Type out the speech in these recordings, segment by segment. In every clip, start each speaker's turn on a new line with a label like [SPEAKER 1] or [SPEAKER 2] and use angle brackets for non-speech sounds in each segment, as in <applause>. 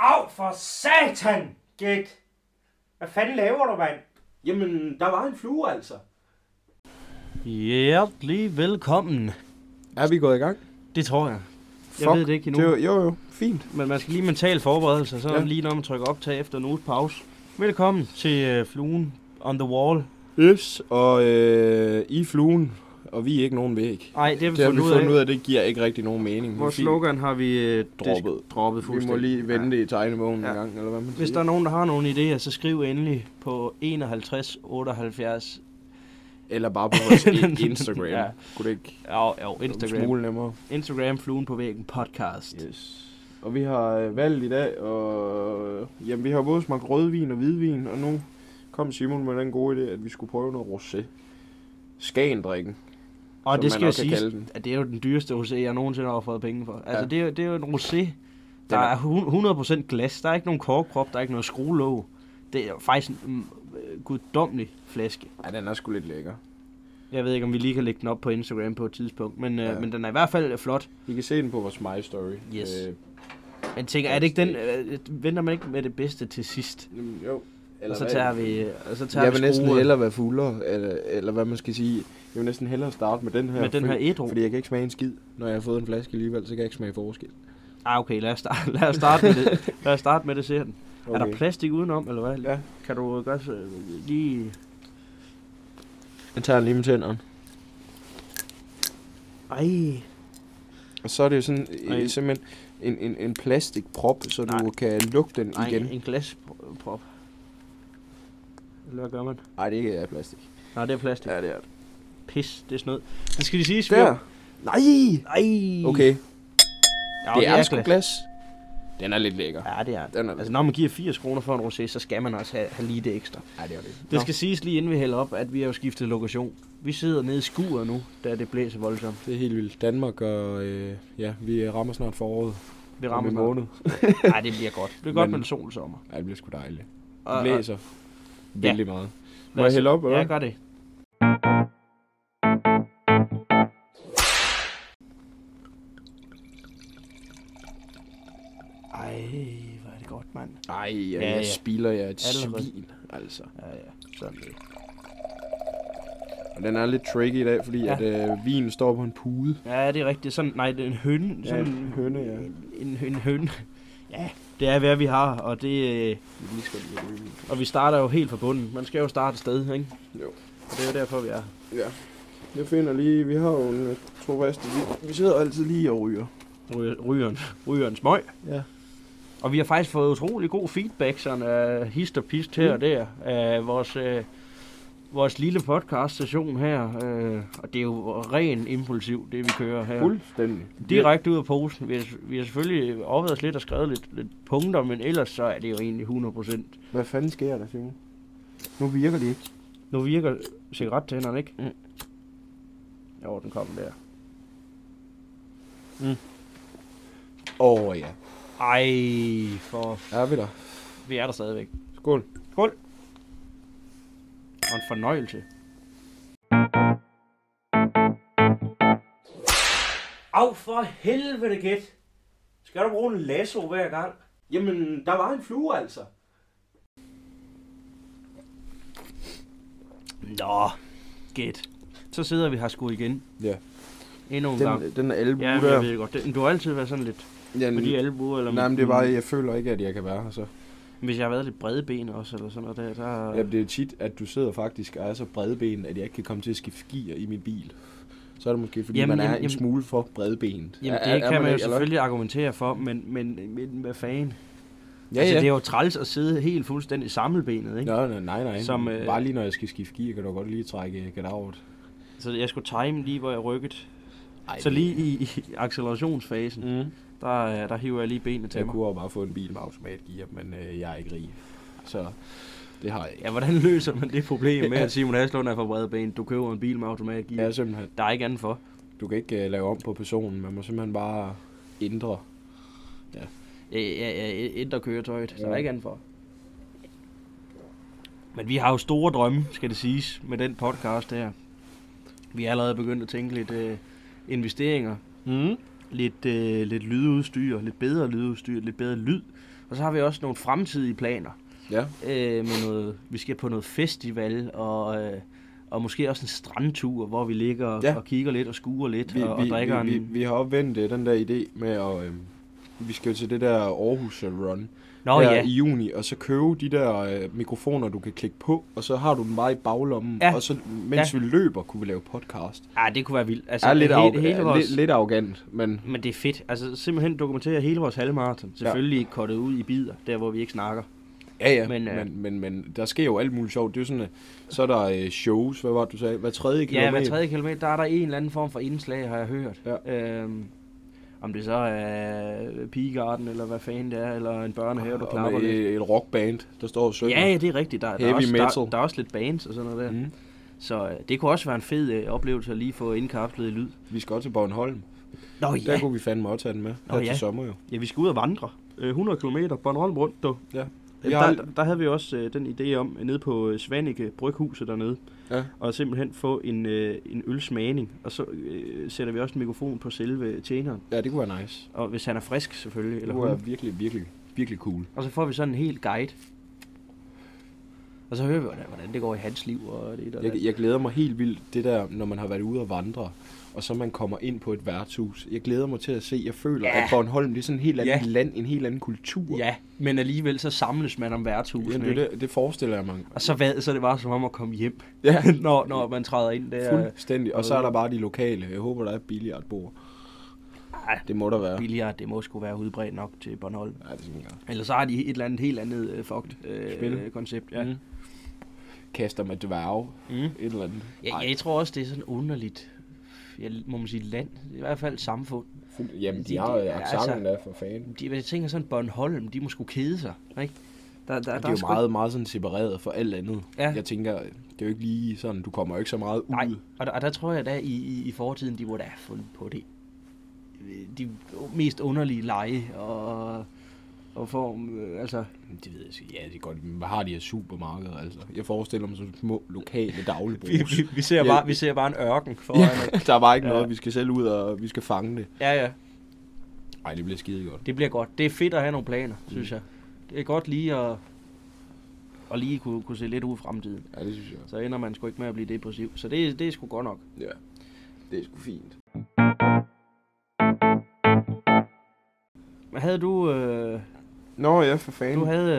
[SPEAKER 1] Av for satan, gæk! Hvad fanden laver du, mand?
[SPEAKER 2] Jamen, der var en flue altså.
[SPEAKER 3] Hjertelig velkommen.
[SPEAKER 4] Er vi gået i gang?
[SPEAKER 3] Det tror jeg. Jeg
[SPEAKER 4] Fuck,
[SPEAKER 3] ved det ikke endnu.
[SPEAKER 4] Det er jo, jo, jo. Fint.
[SPEAKER 3] Men man skal lige mentalt forberede sig, så er
[SPEAKER 4] Ja.
[SPEAKER 3] det lige når man trykker optag efter en uges pause. Velkommen til uh, fluen on the wall.
[SPEAKER 4] Yes, og øh, I er fluen, og vi er ikke nogen væg.
[SPEAKER 3] Nej, det har vi,
[SPEAKER 4] Det har vi
[SPEAKER 3] fundet,
[SPEAKER 4] fundet ud
[SPEAKER 3] af.
[SPEAKER 4] af, det giver ikke rigtig nogen mening.
[SPEAKER 3] Vores
[SPEAKER 4] Fint.
[SPEAKER 3] slogan har vi uh,
[SPEAKER 4] Droppet.
[SPEAKER 3] droppet
[SPEAKER 4] Vi
[SPEAKER 3] fuldstændig.
[SPEAKER 4] må lige vente
[SPEAKER 3] Ja.
[SPEAKER 4] i tegnebogen
[SPEAKER 3] Ja.
[SPEAKER 4] en gang, eller hvad man
[SPEAKER 3] Hvis der er nogen, der har nogle idéer, så skriv endelig på 51 78.
[SPEAKER 4] Eller bare på vores i-
[SPEAKER 3] <laughs>
[SPEAKER 4] Instagram.
[SPEAKER 3] Ja.
[SPEAKER 4] ja. Kunne det ikke
[SPEAKER 3] Jo, jo,
[SPEAKER 4] en
[SPEAKER 3] Instagram.
[SPEAKER 4] smule nemmere?
[SPEAKER 3] Instagram, fluen på væggen podcast.
[SPEAKER 4] Yes. Og vi har øh, valgt i dag, og øh, jamen, vi har både smagt rødvin og hvidvin, og nu kom Simon med den gode idé, at vi skulle prøve noget rosé. Skandrikken,
[SPEAKER 3] Og
[SPEAKER 4] som
[SPEAKER 3] det
[SPEAKER 4] man
[SPEAKER 3] skal jo
[SPEAKER 4] også kan
[SPEAKER 3] siges,
[SPEAKER 4] kalde den.
[SPEAKER 3] at det er jo den dyreste rosé, jeg nogensinde har fået penge for. Altså,
[SPEAKER 4] Ja.
[SPEAKER 3] det, er, jo- det er jo en rosé, der
[SPEAKER 4] er-
[SPEAKER 3] er hun- 100% glas. Der er ikke nogen korkprop, der er ikke noget skruelåg. Det er jo faktisk en mm, øh, guddommelig flaske.
[SPEAKER 4] Ja, den er sgu lidt lækker.
[SPEAKER 3] Jeg ved ikke, om vi lige kan lægge den op på Instagram på et tidspunkt, men, øh,
[SPEAKER 4] Ja.
[SPEAKER 3] men den er i hvert fald flot.
[SPEAKER 4] I kan se den på vores My Story.
[SPEAKER 3] Yes.
[SPEAKER 4] Øh,
[SPEAKER 3] Men tænker, er det ikke den, øh, venter man ikke med det bedste til sidst?
[SPEAKER 4] jamen, jo.
[SPEAKER 3] Eller og så tager vi, øh, og så tager
[SPEAKER 4] Jeg
[SPEAKER 3] vi
[SPEAKER 4] vil næsten
[SPEAKER 3] skruet.
[SPEAKER 4] hellere være fuldere, eller, eller hvad man skal sige. Jeg vil næsten hellere starte med den her.
[SPEAKER 3] Med den her
[SPEAKER 4] fordi,
[SPEAKER 3] ædru.
[SPEAKER 4] Fordi jeg kan ikke smage en skid. Når jeg har fået en flaske alligevel, så kan jeg ikke smage forskel.
[SPEAKER 3] Ah, okay, lad os, starte, lad os starte med
[SPEAKER 4] <laughs>
[SPEAKER 3] det. Lad os starte med det, ser den. Okay. Er der plastik udenom, eller hvad?
[SPEAKER 4] Ja.
[SPEAKER 3] Kan du godt øh, lige...
[SPEAKER 4] Jeg tager den lige med tænderne.
[SPEAKER 3] Ej,
[SPEAKER 4] Og så er det jo sådan,
[SPEAKER 3] Nej.
[SPEAKER 4] øh, simpelthen en, en, en plastikprop, så du
[SPEAKER 3] Nej.
[SPEAKER 4] kan lukke den
[SPEAKER 3] Nej,
[SPEAKER 4] igen.
[SPEAKER 3] en glasprop. Eller hvad gør man?
[SPEAKER 4] Nej, det er ikke af plastik.
[SPEAKER 3] Nej, det er plastik.
[SPEAKER 4] Ja, det er det.
[SPEAKER 3] Pis, det er snød. Det skal de sige,
[SPEAKER 4] Der! Nej!
[SPEAKER 3] Nej.
[SPEAKER 4] Okay,
[SPEAKER 3] Ja,
[SPEAKER 4] det er sgu glas. Den er lidt lækker.
[SPEAKER 3] Ja, det er det.
[SPEAKER 4] Den er
[SPEAKER 3] Altså, når man giver 80 kroner for en rosé, så skal man også have, have lige det ekstra.
[SPEAKER 4] Nej, det er det.
[SPEAKER 3] Det skal siges lige inden vi hælder op, at vi har jo skiftet lokation. Vi sidder nede i skuret nu, da det blæser voldsomt.
[SPEAKER 4] Det er helt vildt. Danmark og... Øh, ja, vi rammer snart foråret.
[SPEAKER 3] Det
[SPEAKER 4] Om
[SPEAKER 3] rammer
[SPEAKER 4] en
[SPEAKER 3] snart.
[SPEAKER 4] måned.
[SPEAKER 3] Nej, det bliver godt. Det bliver godt
[SPEAKER 4] Men-
[SPEAKER 3] med en sol sommer.
[SPEAKER 4] Ja, det bliver sgu dejligt.
[SPEAKER 3] Og-
[SPEAKER 4] Det
[SPEAKER 3] og-
[SPEAKER 4] blæser vældig meget. Må
[SPEAKER 3] lad
[SPEAKER 4] jeg
[SPEAKER 3] os-
[SPEAKER 4] hælde op, eller
[SPEAKER 3] Ja,
[SPEAKER 4] hvad?
[SPEAKER 3] gør det. Ej, hvor er det godt, mand.
[SPEAKER 4] Ej, jeg,
[SPEAKER 3] Ja,
[SPEAKER 4] ja,
[SPEAKER 3] ja.
[SPEAKER 4] jeg spilder jer et
[SPEAKER 3] Allerede.
[SPEAKER 4] svin, altså.
[SPEAKER 3] Ja, ja. Sådan det.
[SPEAKER 4] Og den er lidt tricky i dag, fordi
[SPEAKER 3] Ja.
[SPEAKER 4] ja. at øh, vinen står på en pude.
[SPEAKER 3] Ja, det er rigtigt. Sådan, nej, det er en høne. Sådan
[SPEAKER 4] en høne, ja.
[SPEAKER 3] En, en, en høne. Ja, det er, hvad vi har, og det... øh,
[SPEAKER 4] Vi kan lige skal lige ryge den.
[SPEAKER 3] Og vi starter jo helt fra bunden. Man skal jo starte et sted, ikke?
[SPEAKER 4] Jo.
[SPEAKER 3] Og det er jo derfor, vi er her.
[SPEAKER 4] Ja. Jeg finder lige, vi har jo en øh, trofaste, vi, vi sidder altid lige og ryger.
[SPEAKER 3] Ry- Rygeren, rygeren smøg.
[SPEAKER 4] Ja.
[SPEAKER 3] Og vi har faktisk fået utrolig god feedback sådan af hist og pist her og der af vores, øh, vores lille podcast station her. Øh, og det er jo ren impulsiv, det vi kører her.
[SPEAKER 4] Fuldstændig.
[SPEAKER 3] Direkte ud af posen. Vi har, vi har selvfølgelig opvejet os lidt og skrevet lidt, lidt punkter, men ellers så er det jo egentlig 100%.
[SPEAKER 4] Hvad fanden sker der, Simon? Nu virker det ikke.
[SPEAKER 3] Nu virker cigarettænderne, ikke?
[SPEAKER 4] Mm.
[SPEAKER 3] Jo, den kom der.
[SPEAKER 4] Åh oh, ja.
[SPEAKER 3] Ej, for...
[SPEAKER 4] Er vi der?
[SPEAKER 3] Vi er der stadigvæk.
[SPEAKER 4] Skål.
[SPEAKER 3] Og en fornøjelse.
[SPEAKER 1] Av for helvede, gæk! Skal du bruge en lasso hver gang?
[SPEAKER 2] Jamen, der var en flue altså.
[SPEAKER 3] Nå, gæt. Så sidder vi her sgu igen.
[SPEAKER 4] Ja.
[SPEAKER 3] Endnu en gang.
[SPEAKER 4] Den, den albu
[SPEAKER 3] Ja, men
[SPEAKER 4] der.
[SPEAKER 3] jeg ved det godt. Det, du har altid været sådan lidt
[SPEAKER 4] Ja,
[SPEAKER 3] med de
[SPEAKER 4] den,
[SPEAKER 3] albuer. Eller
[SPEAKER 4] nej, men det er bare, jeg føler ikke, at jeg kan være her så.
[SPEAKER 3] Hvis jeg har været lidt bredben også, eller sådan noget der, der...
[SPEAKER 4] Ja, det er tit, at du sidder faktisk og er så bredbenet, at jeg ikke kan komme til at skifte gear i min bil. Så er det måske, fordi
[SPEAKER 3] Jamen,
[SPEAKER 4] jamen, man er
[SPEAKER 3] jamen,
[SPEAKER 4] jamen, en
[SPEAKER 3] jamen.
[SPEAKER 4] smule for bredbenet.
[SPEAKER 3] Jamen,
[SPEAKER 4] Er-
[SPEAKER 3] det
[SPEAKER 4] er,
[SPEAKER 3] kan man, jo
[SPEAKER 4] ikke, eller hvad?
[SPEAKER 3] selvfølgelig argumentere for, men, men, men hvad fanden?
[SPEAKER 4] Ja,
[SPEAKER 3] altså,
[SPEAKER 4] ja.
[SPEAKER 3] det er jo træls at sidde helt fuldstændig sammelbenet, ikke?
[SPEAKER 4] Nå, nej, nej, nej.
[SPEAKER 3] Som, øh,
[SPEAKER 4] Bare lige når jeg skal skifte gear, kan du godt lige trække øh, gadavret.
[SPEAKER 3] Så jeg skulle time lige, hvor jeg rykkede. Så lige i, i accelerationsfasen,
[SPEAKER 4] Mm.
[SPEAKER 3] der, øh, der hiver jeg lige benene til
[SPEAKER 4] Jeg
[SPEAKER 3] mig.
[SPEAKER 4] kunne jo bare få en bil med automatgear, men øh, jeg er ikke rig. Så det har jeg ikke.
[SPEAKER 3] Ja, hvordan løser man det
[SPEAKER 4] <laughs>
[SPEAKER 3] problem med, at Simon Haslund er for bredben? Du køber en bil med automatgear.
[SPEAKER 4] Jeg er simpelthen,
[SPEAKER 3] Der er ikke andet for.
[SPEAKER 4] du kan ikke øh, lave om på personen, man må simpelthen bare ændre.
[SPEAKER 3] Ja, ja, ja, ændre køretøjet. Så
[SPEAKER 4] Ja.
[SPEAKER 3] der er ikke andet for. Men vi har jo store drømme, skal det siges, med den podcast her. Vi er allerede begyndt at tænke lidt øh, investeringer,
[SPEAKER 4] Mm.
[SPEAKER 3] lidt, øh, lidt lydudstyr, lidt bedre lydudstyr, lidt bedre lyd. Og så har vi også nogle fremtidige planer.
[SPEAKER 4] Ja.
[SPEAKER 3] Øh, med noget, vi skal på noget festival, og, øh, og måske også en strandtur, hvor vi ligger og,
[SPEAKER 4] Ja.
[SPEAKER 3] ja. og kigger lidt og skuer lidt
[SPEAKER 4] Vi,
[SPEAKER 3] og, og
[SPEAKER 4] vi,
[SPEAKER 3] drikker
[SPEAKER 4] vi, vi,
[SPEAKER 3] en...
[SPEAKER 4] vi har opvendt øh, den der idé med at... Øh, vi skal jo til det der Aarhus Run
[SPEAKER 3] Nå
[SPEAKER 4] her
[SPEAKER 3] ja,
[SPEAKER 4] i juni, og så købe de der øh, mikrofoner, du kan klikke på, og så har du dem bare i baglommen,
[SPEAKER 3] Ja.
[SPEAKER 4] og så mens ja. vi løber, kunne vi lave podcast.
[SPEAKER 3] ah, det kunne være vildt. Altså,
[SPEAKER 4] Altså, er lidt,
[SPEAKER 3] hele,
[SPEAKER 4] arro-
[SPEAKER 3] hele
[SPEAKER 4] er
[SPEAKER 3] vores,
[SPEAKER 4] lidt, lidt arrogant, men
[SPEAKER 3] Men det er fedt. Altså simpelthen dokumentere hele vores halvmarathon. Selvfølgelig ja. kottet ud i bidder, der hvor vi ikke snakker.
[SPEAKER 4] ja, ja, men,
[SPEAKER 3] Men, øh,
[SPEAKER 4] men, men, men der sker jo alt muligt sjovt. Det er jo sådan, at, så er der øh, shows, hvad var det, du sagde? Hver tredje kilometer?
[SPEAKER 3] Ja, hver tredje kilometer, der er der en eller anden form for indslag, har jeg hørt.
[SPEAKER 4] Ja.
[SPEAKER 3] Øhm, om det så er øh, pigegarden, eller hvad fanden det er, eller en børnehave, du
[SPEAKER 4] og
[SPEAKER 3] klapper
[SPEAKER 4] med
[SPEAKER 3] lidt.
[SPEAKER 4] et, et rockband, der står og synger.
[SPEAKER 3] Ja, ja, det er rigtigt. Der, der,
[SPEAKER 4] Heavy
[SPEAKER 3] er også,
[SPEAKER 4] metal.
[SPEAKER 3] Der, der er også lidt bands og sådan noget der. Mm.
[SPEAKER 4] Mm.
[SPEAKER 3] Så øh, det kunne også være en fed øh, oplevelse at lige få indkapslet i lyd.
[SPEAKER 4] Vi skal også til Bornholm.
[SPEAKER 3] Nå
[SPEAKER 4] Der
[SPEAKER 3] ja,
[SPEAKER 4] kunne vi fandme også tage den med.
[SPEAKER 3] Nå,
[SPEAKER 4] Her
[SPEAKER 3] ja.
[SPEAKER 4] til sommer jo.
[SPEAKER 3] ja vi skal ud og vandre. Øh, 100 km Bornholm rundt, dog.
[SPEAKER 4] Ja.
[SPEAKER 3] Jamen,
[SPEAKER 4] Jeg
[SPEAKER 3] der,
[SPEAKER 4] har-
[SPEAKER 3] der, der havde vi også øh, den idé om, øh, nede på øh, Svanike Bryghuset dernede,
[SPEAKER 4] Ja.
[SPEAKER 3] og simpelthen få en, øh, en ølsmagning, og så øh, sætter vi også en mikrofon på selve tjeneren,
[SPEAKER 4] Ja, det kunne være nice.
[SPEAKER 3] og hvis han er frisk selvfølgelig,
[SPEAKER 4] Det
[SPEAKER 3] eller
[SPEAKER 4] kunne
[SPEAKER 3] hun,
[SPEAKER 4] være virkelig, virkelig, virkelig cool.
[SPEAKER 3] og så får vi sådan en helt guide. Og så hører vi, hvordan, hvordan det går i hans liv, og det der.
[SPEAKER 4] Jeg, jeg glæder mig helt vildt, det der, når man har været ude og vandre, og så man kommer ind på et værtshus. Jeg glæder mig til at se, jeg føler,
[SPEAKER 3] Ja.
[SPEAKER 4] ja. at Bornholm det er sådan en helt anden
[SPEAKER 3] Ja.
[SPEAKER 4] ja. land, en helt anden kultur.
[SPEAKER 3] Ja, men alligevel så samles man om værtshusene,
[SPEAKER 4] Jamen,
[SPEAKER 3] ikke?
[SPEAKER 4] det, det, det forestiller jeg mig.
[SPEAKER 3] Og så, hvad, så er det bare som om at komme hjem,
[SPEAKER 4] Ja,
[SPEAKER 3] <laughs> når, når man træder ind der.
[SPEAKER 4] fuldstændig. Og så er der bare de lokale. Jeg håber, der er et billiardbord.
[SPEAKER 3] Ej.
[SPEAKER 4] Det må der være.
[SPEAKER 3] Billiard, det må sgu være udbredt nok til Bornholm.
[SPEAKER 4] Ja, det synes jeg.
[SPEAKER 3] Eller så har de et eller andet helt andet øh, fucked øh,
[SPEAKER 4] Spil.
[SPEAKER 3] øh, koncept. Ja.
[SPEAKER 4] Mm. Kaster med dværge.
[SPEAKER 3] Mm.
[SPEAKER 4] Et eller andet.
[SPEAKER 3] Jeg, jeg tror også, det er sådan underligt, jeg, må man sige land, i hvert fald samfund.
[SPEAKER 4] Fuld- Jamen, de,
[SPEAKER 3] De-
[SPEAKER 4] har
[SPEAKER 3] de-
[SPEAKER 4] jo accenten
[SPEAKER 3] altså-
[SPEAKER 4] der for fanden.
[SPEAKER 3] De, jeg tænker sådan, Bornholm, de må sgu kede sig, ikke? Der, der, der,
[SPEAKER 4] Det er jo
[SPEAKER 3] sgu-
[SPEAKER 4] meget, meget sådan separeret for alt andet.
[SPEAKER 3] Ja.
[SPEAKER 4] Jeg tænker, det er jo ikke lige sådan, du kommer jo ikke så meget ud.
[SPEAKER 3] Nej, og der, og der tror jeg da i, i, i fortiden, de må da have fundet på det. De mest underlige lege og, og form, øh, altså...
[SPEAKER 4] Det ved jeg ikke. Ja, det er godt. Men hvad har de her supermarkeder, altså? Jeg forestiller mig sådan små <laughs> lokale
[SPEAKER 3] Vi,
[SPEAKER 4] dagligbrugs.
[SPEAKER 3] vi, vi, ser
[SPEAKER 4] Ja.
[SPEAKER 3] bare, vi ser bare en ørken foran.
[SPEAKER 4] ja, der er bare ikke
[SPEAKER 3] Ja.
[SPEAKER 4] noget, vi skal selv ud og vi skal fange det.
[SPEAKER 3] Ja, ja.
[SPEAKER 4] Nej, det bliver skide godt.
[SPEAKER 3] Det bliver godt. Det er fedt at have nogle planer, synes jeg. Det er godt lige at, at lige kunne, kunne se lidt ud i fremtiden.
[SPEAKER 4] Ja, det synes jeg.
[SPEAKER 3] Så ender man sgu ikke med at blive depressiv. Så det, det er sgu godt nok.
[SPEAKER 4] Ja, det er sgu fint.
[SPEAKER 3] Havde du, øh,
[SPEAKER 4] Nå ja, for fanden.
[SPEAKER 3] du havde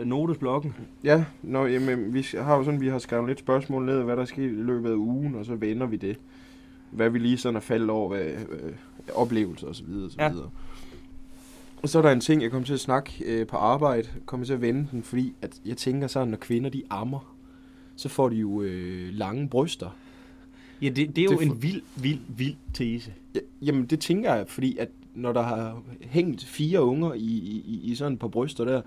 [SPEAKER 3] øh, notesblokken?
[SPEAKER 4] Ja, nå, jamen, vi har jo sådan, vi har skrevet lidt spørgsmål ned, hvad der sker i løbet af ugen, og så vender vi det. Hvad vi lige sådan er faldet over, hvad, øh, oplevelser og så videre, og så
[SPEAKER 3] Ja.
[SPEAKER 4] videre. Og så er der en ting, jeg kommer til at snakke øh, på arbejde, kommer til at vende den, fordi at jeg tænker sådan, når kvinder de ammer, så får de jo øh, lange bryster.
[SPEAKER 3] Ja, det, det er jo
[SPEAKER 4] Det er for-
[SPEAKER 3] en vild, vild, vild tese.
[SPEAKER 4] Ja, jamen det tænker jeg, fordi at når der har hængt fire unger i, i, i- i sådan på bryster der,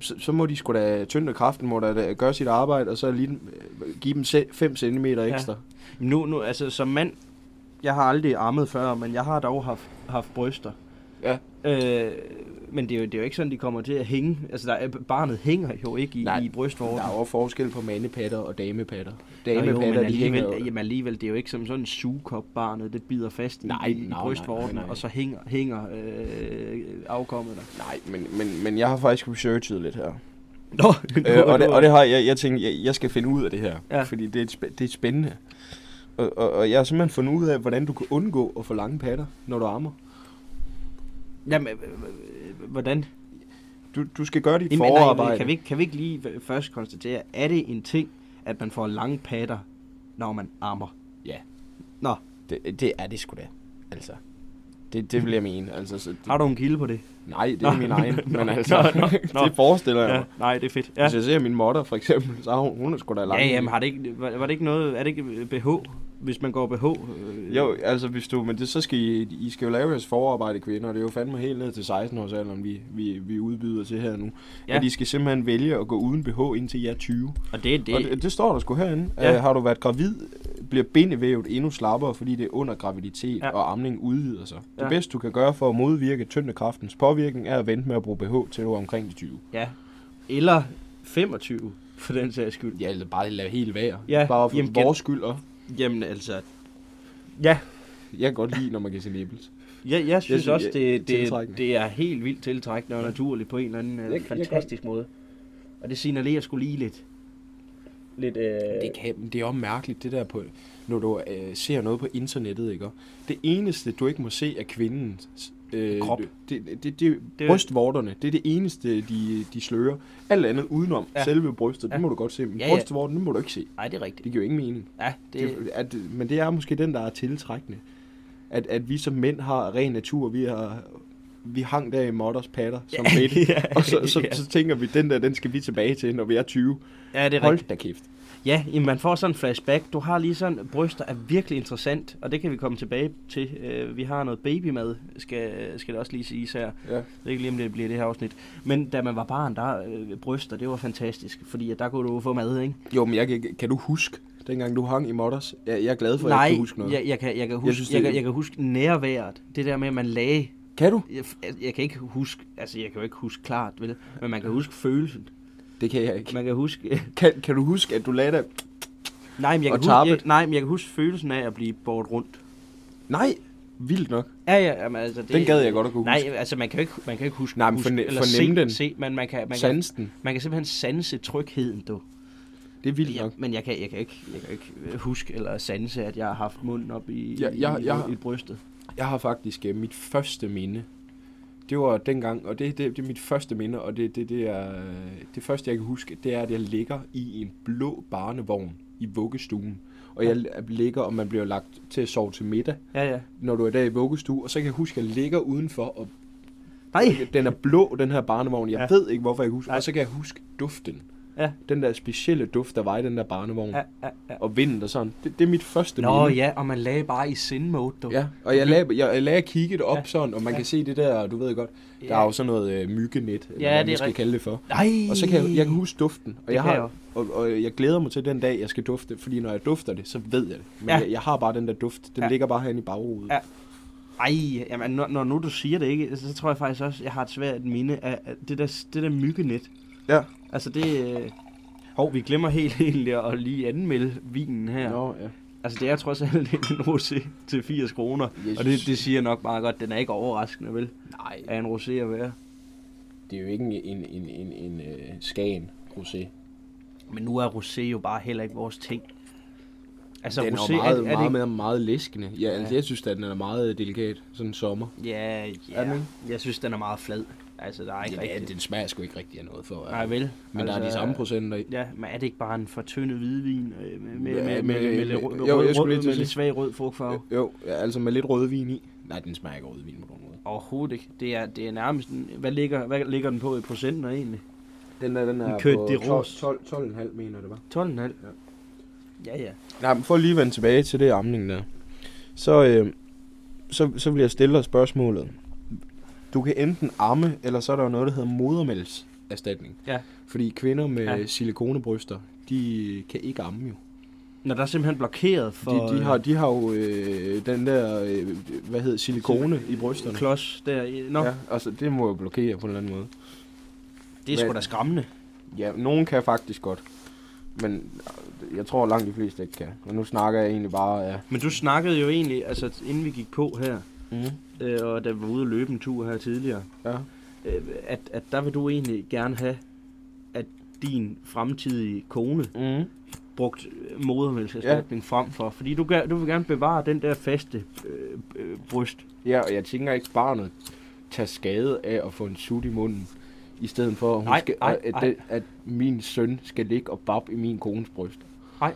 [SPEAKER 4] så, så må de sgu da, tynd og kraften må da, da gøre sit arbejde, og så lige, øh, give dem 5 cm ekstra.
[SPEAKER 3] Nu, nu, altså som mand, jeg har aldrig armet før, men jeg har dog haft, haft bryster.
[SPEAKER 4] Ja.
[SPEAKER 3] Øh, men det er, jo, det er jo ikke sådan, de kommer til at hænge. Altså, der er, barnet hænger jo ikke i,
[SPEAKER 4] Nej.
[SPEAKER 3] i brystvorten.
[SPEAKER 4] Der er jo forskel på mandepatter og damepatter.
[SPEAKER 3] Nå jo, men
[SPEAKER 4] Damepatter, de hænger
[SPEAKER 3] alligevel,
[SPEAKER 4] jo.
[SPEAKER 3] jamen alligevel, det er jo ikke som sådan en sugekop barnet, det bider fast i,
[SPEAKER 4] Nej,
[SPEAKER 3] i, i
[SPEAKER 4] nej, nej,
[SPEAKER 3] brystvorten,
[SPEAKER 4] nej, nej.
[SPEAKER 3] og så hænger, hænger øh, afkommet der.
[SPEAKER 4] Nej, men, men, men jeg har faktisk researchet lidt
[SPEAKER 3] <laughs>
[SPEAKER 4] her.
[SPEAKER 3] Nå,
[SPEAKER 4] Øh, og, det, og det har jeg, jeg tænkte, jeg, jeg skal finde ud af det her,
[SPEAKER 3] Ja.
[SPEAKER 4] ja. fordi det er, et spæ- det er spændende. Og, og, og jeg har simpelthen fundet ud af, hvordan du kan undgå at få lange patter, når du ammer.
[SPEAKER 3] Jamen, øh, øh, hvordan?
[SPEAKER 4] Du, du skal gøre dit
[SPEAKER 3] Jamen, nej,
[SPEAKER 4] forarbejde.
[SPEAKER 3] men kan, vi ikke, kan vi ikke lige f- først konstatere, er det en ting, at man får lange patter, når man armer?
[SPEAKER 4] Det, det er det sgu da. Altså. Det, det vil jeg mene. Altså, så det,
[SPEAKER 3] Har du en kilde på det?
[SPEAKER 4] Nej, det
[SPEAKER 3] Nå,
[SPEAKER 4] er min egen.
[SPEAKER 3] nå, <laughs>
[SPEAKER 4] men
[SPEAKER 3] nå,
[SPEAKER 4] altså,
[SPEAKER 3] nå, nå.
[SPEAKER 4] <laughs> det forestiller jeg mig.
[SPEAKER 3] nej, det er fedt.
[SPEAKER 4] Hvis jeg ser min motter, for eksempel, så har hun, hun er sgu da lang.
[SPEAKER 3] Ja, jamen, har det ikke, var, var det ikke noget, er det ikke BH, hvis man går BH? Øh,
[SPEAKER 4] Jo, altså hvis du, men det, så skal I, I skal jo lave jeres forarbejde kvinder, og det er jo fandme helt ned til 16 års alderen, vi, vi, vi udbyder til her nu.
[SPEAKER 3] Ja.
[SPEAKER 4] Ja. At I skal simpelthen vælge at gå uden BH indtil jeg er 20.
[SPEAKER 3] Og det er
[SPEAKER 4] Det... Og det, det, står der sgu herinde.
[SPEAKER 3] Ja.
[SPEAKER 4] Ja. Uh, har du været gravid, bliver bindevævet endnu slappere, fordi det er under graviditet,
[SPEAKER 3] Ja.
[SPEAKER 4] ja. og amning udvider sig. Ja.
[SPEAKER 3] Ja.
[SPEAKER 4] Det bedste, du kan gøre for at modvirke tyndekraftens påvirkning, er at vente med at bruge BH til du er omkring de 20.
[SPEAKER 3] Ja. Eller 25, for den sags skyld.
[SPEAKER 4] Ja, eller bare lade helt være.
[SPEAKER 3] Ja,
[SPEAKER 4] Bare for
[SPEAKER 3] jamen,
[SPEAKER 4] jamen,
[SPEAKER 3] gen-
[SPEAKER 4] vores skyld. Og
[SPEAKER 3] Jamen altså... Ja,
[SPEAKER 4] jeg kan godt lide, når man kan se nipples.
[SPEAKER 3] Jeg, jeg synes
[SPEAKER 4] synes,
[SPEAKER 3] også,
[SPEAKER 4] jeg-
[SPEAKER 3] det, det,
[SPEAKER 4] tiltrækkende.
[SPEAKER 3] det er helt vildt tiltrækkende og naturligt på en eller anden
[SPEAKER 2] Jeg-
[SPEAKER 3] øh,
[SPEAKER 2] jeg
[SPEAKER 3] fantastisk måde. Og det signalerer skulle lige lidt. Lidt, øh,
[SPEAKER 4] Det, kan, men det er jo mærkeligt, det der på, når du øh, ser noget på internettet, ikke? Det eneste, du ikke må se, er kvindens øh,
[SPEAKER 3] Krop.
[SPEAKER 4] Det, det, det, det,
[SPEAKER 3] Det-
[SPEAKER 4] brystvorterne, det er det eneste, de, de slører. Alt andet udenom
[SPEAKER 3] Ja.
[SPEAKER 4] ja. selve brystet,
[SPEAKER 3] Ja.
[SPEAKER 4] ja. det må du godt se. Men
[SPEAKER 3] Ja,
[SPEAKER 4] ja,
[SPEAKER 3] ja.
[SPEAKER 4] ja. brystvorten, den må du ikke se.
[SPEAKER 3] Ej, det er rigtigt.
[SPEAKER 4] Det giver jo ingen mening.
[SPEAKER 3] Ja, det,
[SPEAKER 4] Det, at, men det er måske den, der er tiltrækkende. At, at vi som mænd har ren natur, vi har vi hang der i modders patter som
[SPEAKER 3] <laughs>
[SPEAKER 4] midt,
[SPEAKER 3] ja,
[SPEAKER 4] og så, så,
[SPEAKER 3] ja.
[SPEAKER 4] så, tænker vi, den der, den skal vi tilbage til, når vi er 20.
[SPEAKER 3] ja, det er rigtigt.
[SPEAKER 4] Hold da kæft.
[SPEAKER 3] Ja, jamen, man får sådan en flashback. Du har lige sådan, bryster er virkelig interessant, og det kan vi komme tilbage til. Øh, vi har noget babymad, skal, skal det også lige siges her.
[SPEAKER 4] Ja.
[SPEAKER 3] Jeg ved ikke lige, om det bliver det her afsnit. Men da man var barn, der øh, bryster, det var fantastisk, fordi at der kunne du få mad, ikke?
[SPEAKER 4] Jo, men jeg, kan- kan du huske, dengang du hang i modders? Jeg, jeg er glad for, at jeg
[SPEAKER 3] Nej,
[SPEAKER 4] ikke kan huske noget.
[SPEAKER 3] Jeg, jeg, kan, jeg, kan huske, jeg,
[SPEAKER 4] synes, det
[SPEAKER 3] jeg,
[SPEAKER 4] er-
[SPEAKER 3] kan, jeg kan huske nærværet. Det der med, at man lagde...
[SPEAKER 4] Kan du?
[SPEAKER 3] Jeg, jeg kan ikke huske, altså jeg kan jo ikke huske klart, vel? Men man kan huske følelsen.
[SPEAKER 4] Det kan jeg ikke.
[SPEAKER 3] Man kan huske... <laughs>
[SPEAKER 4] Kan, kan du huske, at du lagde dig?
[SPEAKER 3] nej, men jeg
[SPEAKER 4] Og
[SPEAKER 3] kan huske,
[SPEAKER 4] tappet.
[SPEAKER 3] jeg, nej, men jeg kan huske følelsen af at blive båret rundt.
[SPEAKER 4] Nej, vildt nok.
[SPEAKER 3] Ja, ja, jamen, altså det...
[SPEAKER 4] Den gad jeg godt at kunne
[SPEAKER 3] Nej,
[SPEAKER 4] huske.
[SPEAKER 3] altså man kan jo ikke, man kan jo ikke huske,
[SPEAKER 4] Nej, men
[SPEAKER 3] huske
[SPEAKER 4] forne-
[SPEAKER 3] eller
[SPEAKER 4] fornemme
[SPEAKER 3] se,
[SPEAKER 4] den.
[SPEAKER 3] Se, men man kan, man, kan,
[SPEAKER 4] Sansen,
[SPEAKER 3] man kan simpelthen sanse trygheden, du.
[SPEAKER 4] det er vildt
[SPEAKER 3] Ja,
[SPEAKER 4] nok.
[SPEAKER 3] men jeg kan, jeg, kan ikke, jeg kan ikke øh, huske eller sanse, at jeg har haft munden op i,
[SPEAKER 4] Ja,
[SPEAKER 3] i,
[SPEAKER 4] jeg-
[SPEAKER 3] i,
[SPEAKER 4] jeg-
[SPEAKER 3] i brystet.
[SPEAKER 4] Jeg har faktisk øh, mit første minde. Det var dengang, og det, det, det er mit første minde, og det, det, det, er, øh, det første, jeg kan huske, det er, at jeg ligger i en blå barnevogn i vuggestuen. Og jeg ligger, og man bliver lagt til at sove til middag,
[SPEAKER 3] Ja, ja.
[SPEAKER 4] når du er der i vuggestue. Og så kan jeg huske, at jeg ligger udenfor og
[SPEAKER 3] Nej!
[SPEAKER 4] Den er blå, den her barnevogn. Jeg
[SPEAKER 3] Ja.
[SPEAKER 4] ja. ved ikke, hvorfor jeg kan huske.
[SPEAKER 3] Nej.
[SPEAKER 4] Og så kan jeg huske duften.
[SPEAKER 3] Ja.
[SPEAKER 4] Den der specielle duft, der var i den der barnevogn.
[SPEAKER 3] Ja, ja, ja.
[SPEAKER 4] Og vinden og sådan. Det, det er mit første
[SPEAKER 3] Nå
[SPEAKER 4] minde.
[SPEAKER 3] ja, og man lagde bare i sin mode, du.
[SPEAKER 4] Ja, og jeg lagde, jeg, jeg lagde kigget op
[SPEAKER 3] Ja.
[SPEAKER 4] ja. sådan, og
[SPEAKER 3] Ja.
[SPEAKER 4] man ja. kan se det der, du ved godt, der
[SPEAKER 3] Ja.
[SPEAKER 4] er jo sådan noget øh, myggenet, eller
[SPEAKER 3] Ja,
[SPEAKER 4] hvad
[SPEAKER 3] det er
[SPEAKER 4] man skal
[SPEAKER 3] rigtigt.
[SPEAKER 4] kalde det for.
[SPEAKER 3] Nej!
[SPEAKER 4] Og så kan jeg, jeg kan huske duften, og
[SPEAKER 3] Det
[SPEAKER 4] jeg,
[SPEAKER 3] kan
[SPEAKER 4] har,
[SPEAKER 3] jeg
[SPEAKER 4] og, og jeg glæder mig til den dag, jeg skal dufte, fordi når jeg dufter det, så ved jeg det. Men
[SPEAKER 3] Ja.
[SPEAKER 4] ja. jeg, jeg har bare den der duft, den
[SPEAKER 3] Ja.
[SPEAKER 4] ja. ligger bare herinde i baghovedet.
[SPEAKER 3] Ja. Ej, jamen, når, når nu du siger det ikke, så tror jeg faktisk også, jeg har et svært minde af af det der, det der myggenet.
[SPEAKER 4] Ja.
[SPEAKER 3] Altså det... øh, Hov, vi glemmer helt <laughs> egentlig at lige anmelde vinen her.
[SPEAKER 4] Nå, ja.
[SPEAKER 3] Altså det er trods alt en rosé til 80 kroner.
[SPEAKER 4] Jeg
[SPEAKER 3] Og det,
[SPEAKER 4] synes-
[SPEAKER 3] det siger nok meget godt, den er ikke overraskende, vel?
[SPEAKER 4] Nej,
[SPEAKER 3] Er en rosé at være.
[SPEAKER 4] det er jo ikke en, en, en, en, en øh, skagen rosé.
[SPEAKER 3] Men nu er rosé jo bare heller ikke vores ting. Altså
[SPEAKER 4] den
[SPEAKER 3] rosé,
[SPEAKER 4] er jo meget,
[SPEAKER 3] er, er
[SPEAKER 4] meget,
[SPEAKER 3] det
[SPEAKER 4] meget, meget læskende. Ja, altså,
[SPEAKER 3] Ja.
[SPEAKER 4] jeg synes, at den er meget delikat, sådan en sommer.
[SPEAKER 3] ikke... Ja,
[SPEAKER 4] Er den
[SPEAKER 3] ja. Jeg synes, den er meget flad. Altså, der er ikke
[SPEAKER 4] Ja,
[SPEAKER 3] rigtigt...
[SPEAKER 4] den, den smager sgu ikke rigtig af noget for.
[SPEAKER 3] Nej, øh, vel?
[SPEAKER 4] men altså, der er de samme procenter i.
[SPEAKER 3] Ja, men er det ikke bare en fortyndet hvidvin øh, med, med,
[SPEAKER 4] Ja,
[SPEAKER 3] med, med,
[SPEAKER 4] men, øh,
[SPEAKER 3] med, lidt
[SPEAKER 4] men-
[SPEAKER 3] rød-
[SPEAKER 4] jo, jeg
[SPEAKER 3] rød-
[SPEAKER 4] skulle lige
[SPEAKER 3] rød-
[SPEAKER 4] til
[SPEAKER 3] med
[SPEAKER 4] at
[SPEAKER 3] lidt
[SPEAKER 4] sige.
[SPEAKER 3] svag rød frugtfarve?
[SPEAKER 4] Jo, ja, altså med lidt rødvin i. Nej, den smager ikke af rødvin på nogen måde.
[SPEAKER 3] Overhovedet ikke. Det er, det er nærmest... En, hvad, ligger, hvad ligger den på i procenter egentlig?
[SPEAKER 4] Den der, den
[SPEAKER 3] er Kød på de ros.
[SPEAKER 4] 12, 12, 12,5 mener det var.
[SPEAKER 3] 12,5? Ja. Ja, ja.
[SPEAKER 4] Nej, men for lige at vende tilbage til det amning der. Så, øh, så, så vil jeg stille dig spørgsmålet. Du kan enten amme, eller så er der jo noget, der hedder modermælserstatning.
[SPEAKER 3] Ja.
[SPEAKER 4] Fordi kvinder med
[SPEAKER 3] Ja.
[SPEAKER 4] ja. silikonebryster, de kan ikke amme jo.
[SPEAKER 3] Når der er simpelthen blokeret for...
[SPEAKER 4] De, de, har, de har jo øh, den der, øh, hvad hedder, silikone i brysterne.
[SPEAKER 3] Klods der. i- Nå, ja.
[SPEAKER 4] Ja, altså det må jo blokere på en eller anden måde.
[SPEAKER 3] det er sgu
[SPEAKER 4] Men-
[SPEAKER 3] da skræmmende.
[SPEAKER 4] Ja, nogen kan faktisk godt. Men øh, jeg tror langt de fleste ikke kan. Og nu snakker jeg egentlig bare af...
[SPEAKER 3] Men du snakkede jo egentlig, altså inden vi gik på her,
[SPEAKER 4] Mm.
[SPEAKER 3] øh, og da vi var ude og løbe en tur her tidligere,
[SPEAKER 4] Ja.
[SPEAKER 3] øh, at, at der vil du egentlig gerne have, at din fremtidige kone
[SPEAKER 4] Mm.
[SPEAKER 3] brugt modermælserstatning ja. frem for. Fordi du, gør, du vil gerne bevare den der faste øh, øh, bryst.
[SPEAKER 4] Ja, og jeg tænker ikke barnet tager skade af at få en sut i munden. I stedet for, at, hun
[SPEAKER 3] Nej,
[SPEAKER 4] skal,
[SPEAKER 3] nej,
[SPEAKER 4] at,
[SPEAKER 3] nej.
[SPEAKER 4] den, at min søn skal ligge og bab i min kones bryst.
[SPEAKER 3] jeg,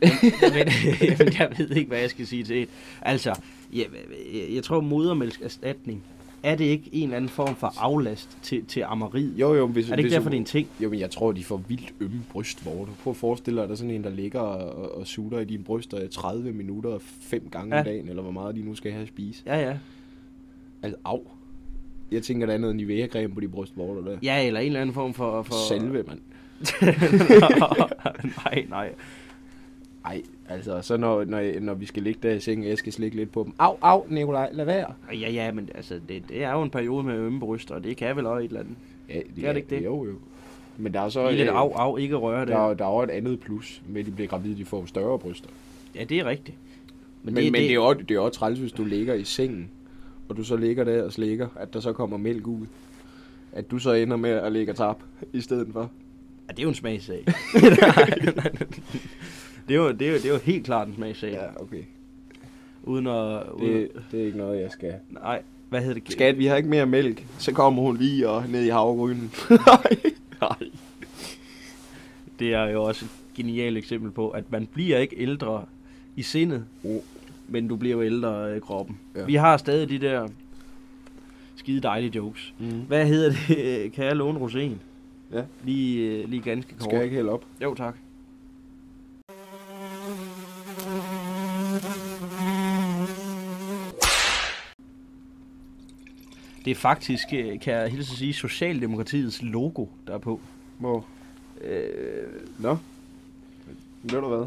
[SPEAKER 3] ved, <laughs> jamen, jeg ved ikke, hvad jeg skal sige til det. Altså, jeg, jeg, jeg tror modermælserstatning, er det ikke en eller anden form for aflast til, til ammeriet?
[SPEAKER 4] Jo, jo, hvis,
[SPEAKER 3] Er det ikke
[SPEAKER 4] hvis
[SPEAKER 3] derfor, det er en ting?
[SPEAKER 4] Jo, men jeg tror, de får vildt ømme brystvorter. Prøv at forestille dig, at der er sådan en, der ligger og, og sutter i dine bryster i 30 minutter og fem gange
[SPEAKER 3] Ja.
[SPEAKER 4] ja. om dagen, eller hvor meget de nu skal have at spise.
[SPEAKER 3] Ja, ja.
[SPEAKER 4] Altså, au. Jeg tænker, der er noget Nivea-creme på de brystvorter der.
[SPEAKER 3] Ja, eller en eller anden form for... for...
[SPEAKER 4] For... Selve, mand.
[SPEAKER 3] <laughs> nej, nej.
[SPEAKER 4] Ej, altså, så når, når, jeg- når vi skal ligge der i sengen, og jeg skal slikke lidt på dem. Au, au, Nikolaj, lad være.
[SPEAKER 3] Ja, ja, men altså, det, det er jo en periode med ømme bryster, og det kan vel også et eller andet.
[SPEAKER 4] Ja, det,
[SPEAKER 3] det ikke det?
[SPEAKER 4] Jo, jo. Men der er så...
[SPEAKER 3] Lige lidt
[SPEAKER 4] øh,
[SPEAKER 3] af, af, ikke røre det.
[SPEAKER 4] Der, er- der er jo et andet plus med, at de bliver gravide, de får større bryster.
[SPEAKER 3] Ja, det er rigtigt.
[SPEAKER 4] Men, men, det, men det, er jo, det er jo også træls, hvis du ligger i sengen, og du så ligger der og slikker, at der så kommer mælk ud. At du så ender med at ligge og tabe i stedet for.
[SPEAKER 3] Ja, det er jo en
[SPEAKER 4] <laughs>
[SPEAKER 3] smagsag. Nej, nej. det, er jo, det, er jo, det er jo helt klart en smagsag. Ja.
[SPEAKER 4] okay.
[SPEAKER 3] Uden at... Uden,
[SPEAKER 4] Det, det er ikke noget, jeg skal.
[SPEAKER 3] nej, hvad hedder det?
[SPEAKER 4] Skat, vi har ikke mere mælk. Så kommer hun lige og ned i <laughs> havgrynen.
[SPEAKER 3] Nej. Det er jo også et genialt eksempel på, at man bliver ikke ældre i sindet,
[SPEAKER 4] Oh.
[SPEAKER 3] men du bliver jo ældre i kroppen.
[SPEAKER 4] Ja.
[SPEAKER 3] Ja. Vi har stadig de der skide dejlige jokes.
[SPEAKER 4] Mm.
[SPEAKER 3] Hvad hedder det? <laughs> Kan jeg låne roséen?
[SPEAKER 4] Ja.
[SPEAKER 3] Lige, øh, lige ganske kort.
[SPEAKER 4] Skal jeg ikke hælde op?
[SPEAKER 3] Jo, tak. Det er faktisk, øh, kan jeg hilse at sige, Socialdemokratiets logo, der er på.
[SPEAKER 4] Hvor?
[SPEAKER 3] Øh,
[SPEAKER 4] Nå. Ved du hvad?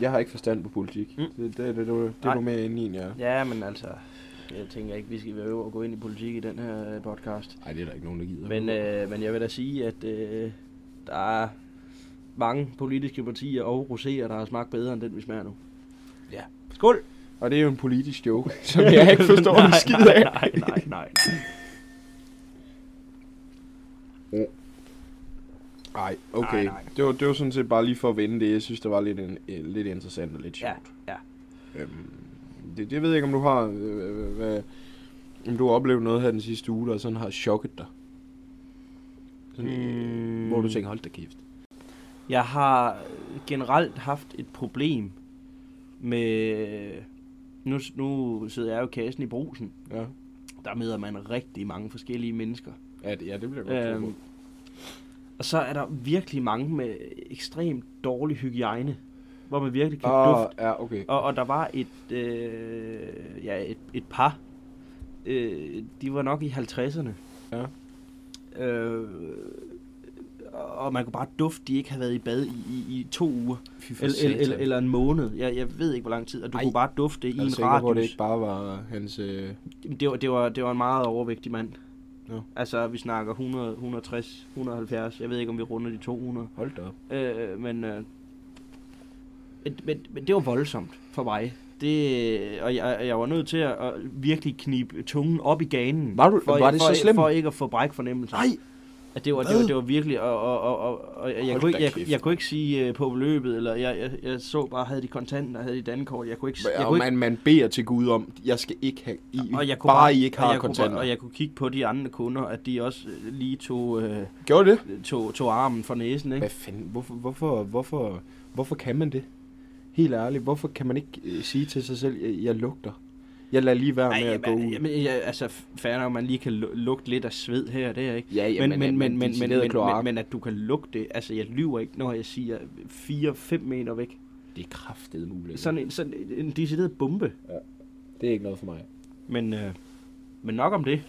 [SPEAKER 4] Jeg har ikke forstand på politik.
[SPEAKER 3] Mm.
[SPEAKER 4] Mm. Det, det, det, det, det er
[SPEAKER 3] Nej.
[SPEAKER 4] du mere inde i, end jeg er.
[SPEAKER 3] ja, men altså, jeg tænker ikke, vi skal være over at gå ind i politik i den her øh, podcast.
[SPEAKER 4] Nej, det er der ikke nogen, der gider.
[SPEAKER 3] Men, øh, men jeg vil da sige, at øh, der er mange politiske partier og roséer, der har smagt bedre end den, vi smager nu.
[SPEAKER 4] Ja.
[SPEAKER 3] Skål!
[SPEAKER 4] Og det er jo en politisk <laughs> joke, som <laughs> jeg ikke forstår en skid af.
[SPEAKER 3] Nej, nej, nej, nej.
[SPEAKER 4] Nej, okay.
[SPEAKER 3] Nej, nej.
[SPEAKER 4] Det, var, det var sådan set bare lige for at vende det. Jeg synes, det var lidt, en, eh, lidt interessant og lidt sjovt.
[SPEAKER 3] Ja, ja.
[SPEAKER 4] Øhm, det, det ved jeg ikke, om du har... Øh, hvad, om du har oplevet noget her den sidste uge, der sådan har chokket dig. Sådan, mm.
[SPEAKER 3] Mm.
[SPEAKER 4] Hvor du tænker, hold da kæft.
[SPEAKER 3] Jeg har generelt haft et problem med... Nu, nu sidder jeg jo i kassen i brusen.
[SPEAKER 4] Ja,
[SPEAKER 3] Der møder man rigtig mange forskellige mennesker.
[SPEAKER 4] ja, det, ja, det bliver jeg godt
[SPEAKER 3] Øhm,
[SPEAKER 4] øhm.
[SPEAKER 3] og så er der virkelig mange med ekstremt dårlig hygiejne, hvor man virkelig kan oh.
[SPEAKER 4] Ah,
[SPEAKER 3] dufte.
[SPEAKER 4] ja, okay.
[SPEAKER 3] Og, og der var et, øh, ja, et, et par, øh, de var nok i 50'erne.
[SPEAKER 4] Ja.
[SPEAKER 3] Øh, og man kunne bare dufte, de ikke havde været i bad i, i, i to uger.
[SPEAKER 4] Fy for
[SPEAKER 3] Eller, eller,
[SPEAKER 4] satan.
[SPEAKER 3] eller, eller en måned. Jeg, jeg ved ikke, hvor lang tid. Og du
[SPEAKER 4] Ej,
[SPEAKER 3] Ej, kunne bare dufte i
[SPEAKER 4] Jeg er
[SPEAKER 3] en
[SPEAKER 4] sikker på, at det
[SPEAKER 3] radius.
[SPEAKER 4] ikke bare var hans... Øh,
[SPEAKER 3] Det, det, var, det, var, det var en meget overvægtig mand.
[SPEAKER 4] Nå.
[SPEAKER 3] Altså, vi snakker 100, 160, 170. Jeg ved ikke, om vi runder de 200.
[SPEAKER 4] hold da op.
[SPEAKER 3] Øh, men, øh, men, men, men det var voldsomt for mig. Det, og jeg, jeg var nødt til at, at virkelig knibe tungen op i ganen.
[SPEAKER 4] Var du-
[SPEAKER 3] for,
[SPEAKER 4] var det
[SPEAKER 3] for,
[SPEAKER 4] så slemt?
[SPEAKER 3] For ikke at få brækfornemmelsen.
[SPEAKER 4] Nej!
[SPEAKER 3] At det var, det
[SPEAKER 4] Hvad?
[SPEAKER 3] var, det var virkelig, og, og, og, og, og jeg,
[SPEAKER 4] Hold
[SPEAKER 3] jeg, kunne
[SPEAKER 4] da
[SPEAKER 3] ikke, jeg,
[SPEAKER 4] kæft.
[SPEAKER 3] jeg, kunne ikke sige øh, på beløbet, eller jeg, jeg, jeg så bare, havde de kontanter, havde de dankort, jeg kunne ikke, jeg
[SPEAKER 4] Og
[SPEAKER 3] kunne ikke
[SPEAKER 4] man, man beder til Gud om, jeg skal ikke have... I,
[SPEAKER 3] og jeg kunne
[SPEAKER 4] bare, I ikke
[SPEAKER 3] og
[SPEAKER 4] har
[SPEAKER 3] jeg kunne,
[SPEAKER 4] kontanter.
[SPEAKER 3] bare- Og jeg kunne kigge på de andre kunder, at de også øh, lige tog, øh,
[SPEAKER 4] Gjorde det?
[SPEAKER 3] tog, tog armen fra næsen, ikke?
[SPEAKER 4] Hvad fanden? Hvorfor, hvorfor, hvorfor, hvorfor kan man det? Helt ærligt, hvorfor kan man ikke øh, sige til sig selv, jeg, jeg lugter? Jeg lader lige være med
[SPEAKER 3] Ej,
[SPEAKER 4] at gå ud.
[SPEAKER 3] jamen, jamen, ja, altså, fair nok, man lige kan lu- lugte lidt af sved her og der, ikke?
[SPEAKER 4] ja,
[SPEAKER 3] Men, men, men, men, men, men,
[SPEAKER 4] decideret kloak,
[SPEAKER 3] men, men, at du kan lugte det, altså jeg lyver ikke, når jeg siger 4-5 meter væk.
[SPEAKER 4] det er kraftedet muligt.
[SPEAKER 3] Sådan en, sådan en- en decideret bombe.
[SPEAKER 4] Det er ikke noget for mig.
[SPEAKER 3] Men, øh, men nok om det.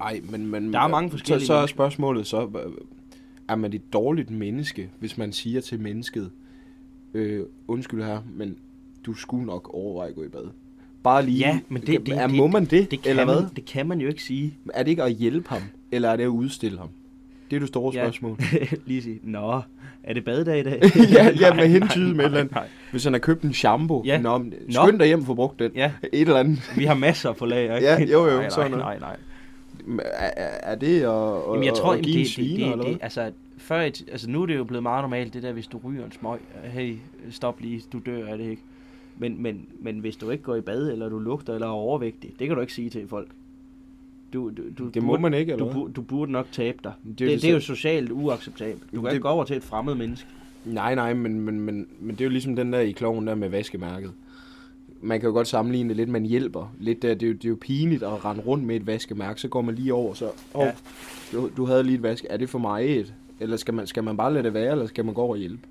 [SPEAKER 4] Ej, men, men
[SPEAKER 3] Der er mange
[SPEAKER 4] Så,
[SPEAKER 3] forskellige
[SPEAKER 4] så er
[SPEAKER 3] mennesker.
[SPEAKER 4] spørgsmålet så, hva- er man et dårligt menneske, hvis man siger til mennesket, øh, undskyld her, men du skulle nok overveje at gå i bad. Bare lige.
[SPEAKER 3] Ja, men det- det-
[SPEAKER 4] er,
[SPEAKER 3] det-
[SPEAKER 4] må man det,
[SPEAKER 3] Det kan,
[SPEAKER 4] eller hvad?
[SPEAKER 3] Man, det kan man jo ikke sige.
[SPEAKER 4] Er det ikke at hjælpe ham, eller er det at udstille ham? Det er det store
[SPEAKER 3] Ja.
[SPEAKER 4] spørgsmål.
[SPEAKER 3] <laughs> lige sige, nå, er det badedag i dag?
[SPEAKER 4] <laughs> ja, ja,
[SPEAKER 3] Nej,
[SPEAKER 4] med hentyde med et
[SPEAKER 3] nej,
[SPEAKER 4] eller andet.
[SPEAKER 3] nej.
[SPEAKER 4] Hvis han har købt en shampoo, ja.
[SPEAKER 3] Ja.
[SPEAKER 4] nå, men skynd dig hjem og få brugt den.
[SPEAKER 3] Ja,
[SPEAKER 4] Et eller andet.
[SPEAKER 3] vi har masser på lager, ikke?
[SPEAKER 4] Ja, jo, jo,
[SPEAKER 3] nej,
[SPEAKER 4] sådan
[SPEAKER 3] nej,
[SPEAKER 4] noget.
[SPEAKER 3] nej, nej.
[SPEAKER 4] Er, er- er det at,
[SPEAKER 3] Jamen, jeg tror,
[SPEAKER 4] at
[SPEAKER 3] det,
[SPEAKER 4] give en
[SPEAKER 3] det,
[SPEAKER 4] sviner,
[SPEAKER 3] det,
[SPEAKER 4] eller
[SPEAKER 3] det,
[SPEAKER 4] hvad?
[SPEAKER 3] det, altså, før, i t- altså, nu er det jo blevet meget normalt, det der, hvis du ryger en smøg, "Øh, hey, stop lige, du dør af det, ikke? Men, men, men hvis du ikke går i bad, eller du lugter, eller er overvægtig, det kan du ikke sige til folk. Du, du, du
[SPEAKER 4] Det må man ikke, eller
[SPEAKER 3] du,
[SPEAKER 4] hvad?
[SPEAKER 3] bur- du burde nok tabe dig.
[SPEAKER 4] Det er jo
[SPEAKER 3] Det, det,
[SPEAKER 4] det
[SPEAKER 3] det er jo
[SPEAKER 4] selv-
[SPEAKER 3] socialt uacceptabelt. Du kan
[SPEAKER 4] Det-
[SPEAKER 3] det, ikke gå over til et fremmed menneske.
[SPEAKER 4] Nej, nej, men, men, men, men det er jo ligesom den der i kloven der med vaskemærket. Man kan jo godt sammenligne det lidt, man hjælper. Lidt der, det, er jo, det er jo pinligt at rende rundt med et vaskemærke, så går man lige over, så oh, ja.
[SPEAKER 3] Ja.
[SPEAKER 4] du, du havde lige et vaske, er det for mig et? Eller skal man, skal man bare lade det være, eller skal man gå over og hjælpe?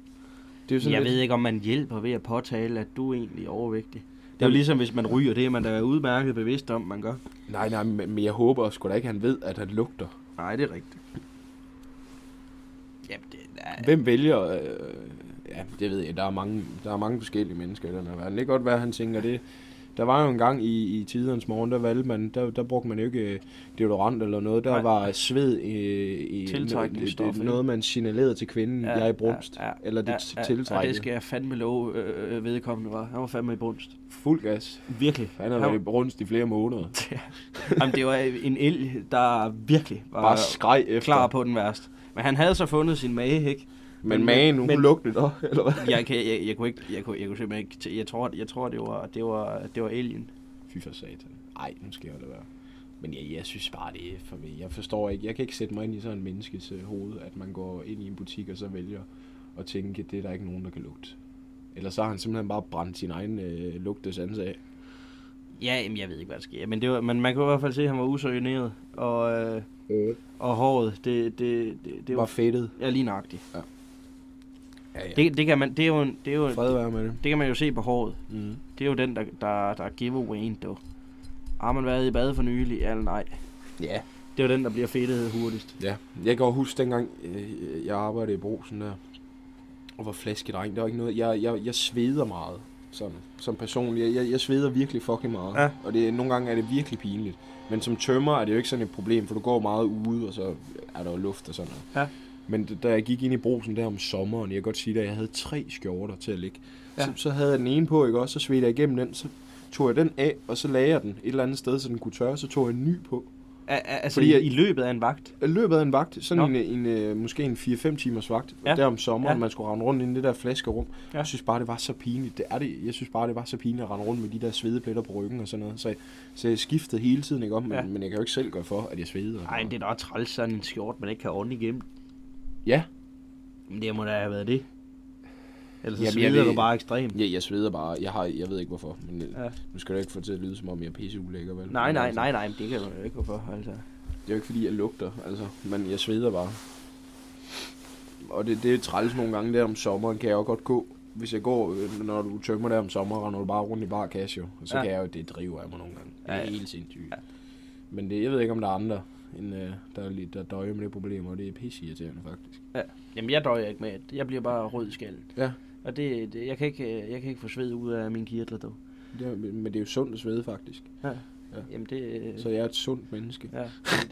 [SPEAKER 4] Det er jo sådan
[SPEAKER 3] Jeg
[SPEAKER 4] lidt,
[SPEAKER 3] ved ikke, om man hjælper ved at påtale, at du egentlig er overvægtig. Det er jo
[SPEAKER 4] Jamen-
[SPEAKER 3] ligesom, hvis man ryger det, er man der er udmærket bevidst om, man gør.
[SPEAKER 4] Nej, nej, men men jeg håber sgu da ikke, han ved, at han lugter.
[SPEAKER 3] Nej, det er rigtigt. Jamen, det er...
[SPEAKER 4] Hvem vælger... Øh, ja, det ved jeg. Der er mange, der er mange forskellige mennesker i den her verden. Det kan godt være, at han tænker det. Der var jo en gang i, i tidernes morgen, der valgte man, der, der brugte man jo ikke øh, deodorant eller noget. Der
[SPEAKER 3] Nej.
[SPEAKER 4] Nej. var sved øh, i
[SPEAKER 3] Tiltrækningsstof,
[SPEAKER 4] det, det,
[SPEAKER 3] ikke?
[SPEAKER 4] noget, man signalerede til kvinden, ja, jeg er i brunst. Ja, ja, eller
[SPEAKER 3] ja,
[SPEAKER 4] det ja,
[SPEAKER 3] ja, ja, det
[SPEAKER 4] tiltrækkende.
[SPEAKER 3] skal jeg fandme love øh, øh, vedkommende var. Han var fandme i brunst.
[SPEAKER 4] Fuld gas.
[SPEAKER 3] Virkelig.
[SPEAKER 4] Han har
[SPEAKER 3] Ja.
[SPEAKER 4] været i brunst i flere måneder.
[SPEAKER 3] Jamen, det var en elg, der virkelig var
[SPEAKER 4] Bare skreg efter.
[SPEAKER 3] klar på den værste. Men han havde så fundet sin mage, ikke?
[SPEAKER 4] Men magen, hun
[SPEAKER 3] men-
[SPEAKER 4] men, lugtede dig, eller hvad?
[SPEAKER 3] Jeg, kan, jeg, jeg, kunne ikke, jeg, kunne, jeg kunne simpelthen ikke... tæ- Jeg tror, jeg tror det, var, det, var, det var alien.
[SPEAKER 4] Fy for satan. Ej, nu skal jeg det være. Men jeg, jeg synes bare, det er for mig. Jeg forstår ikke. Jeg kan ikke sætte mig ind i sådan en menneskes øh, hoved, at man går ind i en butik og så vælger at tænke, det er der ikke nogen, der kan lugte. Eller så har han simpelthen bare brændt sin egen øh, lugtesans af.
[SPEAKER 3] Ja, jamen, jeg ved ikke, hvad der sker. Men, det var, men man kunne i hvert fald se, at han var usøgneret. Og, øh, og håret, det, det, det, det
[SPEAKER 4] Det var
[SPEAKER 3] var...
[SPEAKER 4] fedtet.
[SPEAKER 3] Ja, lige nøjagtigt.
[SPEAKER 4] Ja, ja.
[SPEAKER 3] Det, det, kan man, det er jo, en, det er jo,
[SPEAKER 4] Fred være med det.
[SPEAKER 3] det kan man jo se på håret.
[SPEAKER 4] Mm.
[SPEAKER 3] Det er jo den, der, der, der er giveawayen, dog. Har man været i bad for nylig? Ja eller nej?
[SPEAKER 4] Ja.
[SPEAKER 3] Det er jo den, der bliver fedtet hurtigst.
[SPEAKER 4] Ja, jeg kan jo huske dengang, øh, jeg arbejdede i brosen der, og var flaskedreng. Der var ikke noget, jeg, jeg, jeg sveder meget som, som person. Jeg, jeg, jeg sveder virkelig fucking meget.
[SPEAKER 3] Ja.
[SPEAKER 4] Og det, nogle gange er det virkelig pinligt. Men som tømmer er det jo ikke sådan et problem, for du går meget ude, og så er der jo luft og sådan noget.
[SPEAKER 3] Ja.
[SPEAKER 4] Men d- da jeg gik ind i brosen der om sommeren, jeg kan godt sige, at jeg havde tre skjorter til at ligge.
[SPEAKER 3] Ja.
[SPEAKER 4] Ja. Så, så havde jeg den ene på, ikke også? Så svedte jeg igennem den, så tog jeg den af, og så lagde jeg den et eller andet sted, så den kunne tørre, så tog jeg en ny på.
[SPEAKER 3] A- a- altså
[SPEAKER 4] Fordi
[SPEAKER 3] Fordi,
[SPEAKER 4] jeg-
[SPEAKER 3] i, i løbet af en vagt.
[SPEAKER 4] Øh, løbet af en vagt, sådan
[SPEAKER 3] Nå.
[SPEAKER 4] en, en, øh, måske en 4-5 timers vagt,
[SPEAKER 3] Ja.
[SPEAKER 4] ja. der om sommeren,
[SPEAKER 3] Ja.
[SPEAKER 4] ja. man skulle rende rundt i det der flaskerum.
[SPEAKER 3] Ja.
[SPEAKER 4] Ja. Jeg synes bare, det var så pinligt. Det er det. Jeg synes bare, det var så pinligt at rende rundt med de der svedepletter på ryggen og sådan noget. Så, så jeg skiftede hele tiden, ikke om, men,
[SPEAKER 3] Ja.
[SPEAKER 4] ja. men jeg kan jo ikke selv gøre for, at jeg sveder. og
[SPEAKER 3] Nej,
[SPEAKER 4] sådan
[SPEAKER 3] det er da også træls sådan en skjort, man ikke kan ordne igennem.
[SPEAKER 4] noget. Ja,
[SPEAKER 3] Men det må da have været det. Ellers så
[SPEAKER 4] Jamen,
[SPEAKER 3] sveder
[SPEAKER 4] jeg
[SPEAKER 3] ved...
[SPEAKER 4] ved-
[SPEAKER 3] du bare ekstremt.
[SPEAKER 4] ja jeg sveder bare. Jeg, har, jeg ved ikke hvorfor, men
[SPEAKER 3] Ja.
[SPEAKER 4] ja. nu skal det ikke få til at lyde, som om jeg er pisseulækker, vel?
[SPEAKER 3] Nej,
[SPEAKER 4] Men
[SPEAKER 3] nej,
[SPEAKER 4] altså,
[SPEAKER 3] nej, nej, men det kan man jo ikke hvorfor, altså.
[SPEAKER 4] Det er jo ikke, fordi jeg lugter, altså, men jeg sveder bare. Og det, det er træls nogle gange der om sommeren, kan jeg jo godt gå. Hvis jeg går, øh, når du tømmer der om sommeren, render du bare rundt i bar cash, jo. Og så
[SPEAKER 3] Ja.
[SPEAKER 4] ja. kan jeg jo, det driver af mig nogle gange. Det
[SPEAKER 3] Ja,
[SPEAKER 4] er
[SPEAKER 3] ja.
[SPEAKER 4] ja. helt sindssygt.
[SPEAKER 3] Ja.
[SPEAKER 4] Ja. Men det, jeg ved ikke, om der er andre, end, øh, der, er lidt, der døjer med det problem, og det er pisseirriterende faktisk.
[SPEAKER 3] Jamen, jeg døjer ikke med, at jeg bliver bare rød i skallen.
[SPEAKER 4] Ja.
[SPEAKER 3] Og det, det jeg, kan ikke, øh, jeg kan ikke få sved ud af mine kirtler, dog.
[SPEAKER 4] Det er, men det er jo sundt at svede faktisk.
[SPEAKER 3] Jamen, det, øh,
[SPEAKER 4] Så jeg er et sundt menneske.
[SPEAKER 3] ja,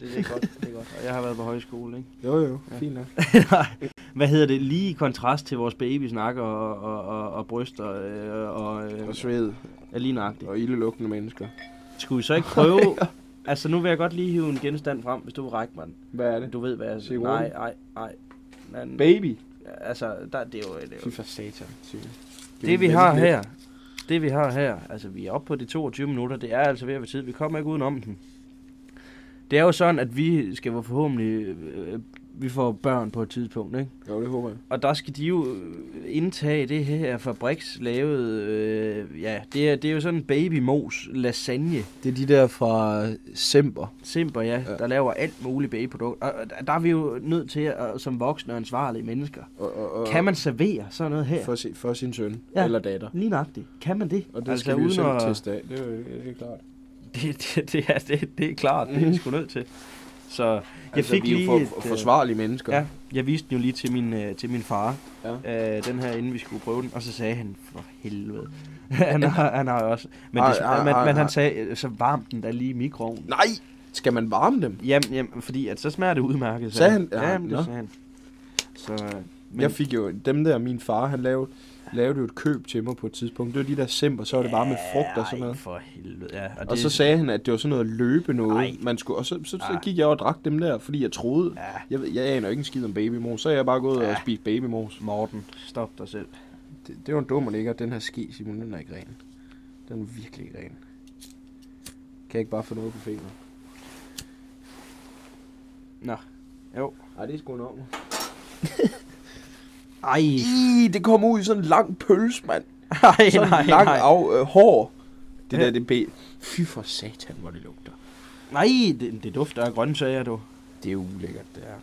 [SPEAKER 3] det, det, er godt, det er godt. Og jeg har været på højskole, ikke?
[SPEAKER 4] Jo jo, fint nok.
[SPEAKER 3] Nej. Hvad hedder det? Lige i kontrast til vores babysnak og, og, og, og bryster øh, og, øh,
[SPEAKER 4] Og sved,
[SPEAKER 3] er lige nøjagtigt.
[SPEAKER 4] og ildelugtende mennesker.
[SPEAKER 3] Skulle vi så ikke
[SPEAKER 4] <laughs>
[SPEAKER 3] prøve... altså, nu vil jeg godt lige hive en genstand frem, hvis du vil række mig den.
[SPEAKER 4] Hvad er det?
[SPEAKER 3] Du ved, hvad jeg
[SPEAKER 4] Sikke
[SPEAKER 3] Nej,
[SPEAKER 4] rundt.
[SPEAKER 3] nej, nej. Men,
[SPEAKER 4] Baby.
[SPEAKER 3] altså, der, det er jo... Det, er
[SPEAKER 4] Fy
[SPEAKER 3] jo.
[SPEAKER 4] for satan. Det, er jo
[SPEAKER 3] det vi
[SPEAKER 4] en
[SPEAKER 3] har
[SPEAKER 4] menneske.
[SPEAKER 3] her, det vi har her, altså vi er oppe på de 22 minutter, det er altså ved at være tid, vi kommer ikke udenom den. Det er jo sådan, at vi skal jo forhåbentlig, øh, vi får børn på et tidspunkt, ikke?
[SPEAKER 4] Jo, det håber jeg.
[SPEAKER 3] Og der skal de jo øh, indtage det her fabrikslavede, øh, ja, det er, det er jo sådan en babymos lasagne.
[SPEAKER 4] Det er de der fra Semper.
[SPEAKER 3] Simper, ja, ja,
[SPEAKER 4] Ja.
[SPEAKER 3] der laver alt muligt babyprodukter. Og og der- der er vi jo nødt til, at, som voksne og ansvarlige mennesker,
[SPEAKER 4] Og, og, og,
[SPEAKER 3] kan man servere sådan noget her?
[SPEAKER 4] For, si, for sin søn
[SPEAKER 3] Ja.
[SPEAKER 4] ja. eller datter.
[SPEAKER 3] Lige nøjagtigt. Kan man det?
[SPEAKER 4] Og det altså, skal vi jo
[SPEAKER 3] uden
[SPEAKER 4] selv
[SPEAKER 3] at-
[SPEAKER 4] teste af. Det er, jo- det er klart.
[SPEAKER 3] <laughs> Det, det, det, er, det, det er klart, det er vi sgu nødt til. Så jeg
[SPEAKER 4] altså,
[SPEAKER 3] fik
[SPEAKER 4] vi er jo
[SPEAKER 3] lige
[SPEAKER 4] for,
[SPEAKER 3] et, øh,
[SPEAKER 4] forsvarlige mennesker.
[SPEAKER 3] Ja, jeg viste den jo lige til min, øh, til min far,
[SPEAKER 4] Ja.
[SPEAKER 3] øh, den her, inden vi skulle prøve den, og så sagde han, for helvede. <laughs> han, har, han har jo også... Men, det,
[SPEAKER 4] Ej, ej,
[SPEAKER 3] men,
[SPEAKER 4] ej,
[SPEAKER 3] men
[SPEAKER 4] ej.
[SPEAKER 3] han sagde, øh, så varm den da lige i mikroovnen.
[SPEAKER 4] Nej! Skal man varme dem?
[SPEAKER 3] Jamen, jamen, fordi at så smager det udmærket.
[SPEAKER 4] Sagde han? Ja,
[SPEAKER 3] Ja, jamen, det
[SPEAKER 4] nå.
[SPEAKER 3] sagde han. Så, øh,
[SPEAKER 4] Men... Jeg fik jo dem der, min far, han lavede, lavede jo et køb til mig på et tidspunkt. Det var de der Semper, så var det bare med frugt og
[SPEAKER 3] Ej,
[SPEAKER 4] sådan noget.
[SPEAKER 3] for helvede, ja.
[SPEAKER 4] Og så sagde han, at det var sådan noget løbe
[SPEAKER 3] Ej.
[SPEAKER 4] noget, man skulle, og så, så, så
[SPEAKER 3] Ej.
[SPEAKER 4] gik jeg og drak dem der, fordi jeg troede,
[SPEAKER 3] Ja.
[SPEAKER 4] jeg, ved- jeg aner ikke en skid om babymos, så er jeg bare gået og spist babymos.
[SPEAKER 3] Morten, stop dig selv.
[SPEAKER 4] Det, det var en dum og lækker, den her ske, Simon, den er ikke ren. Den er virkelig ikke ren. Kan jeg ikke bare få noget på fingre?
[SPEAKER 3] Nå. Jo.
[SPEAKER 4] Nej, det er sgu en orm.
[SPEAKER 3] Ej.
[SPEAKER 4] Ih, det kommer ud i sådan en lang pølse, mand.
[SPEAKER 3] Ej,
[SPEAKER 4] Sådan
[SPEAKER 3] <laughs> nej,
[SPEAKER 4] en lang
[SPEAKER 3] nej.
[SPEAKER 4] af øh, hår. Det
[SPEAKER 3] Ja.
[SPEAKER 4] der, det be. Fy for satan, hvor det lugter.
[SPEAKER 3] Nej, det, det dufter af grøntsager, du.
[SPEAKER 4] Det er ulækkert, det her.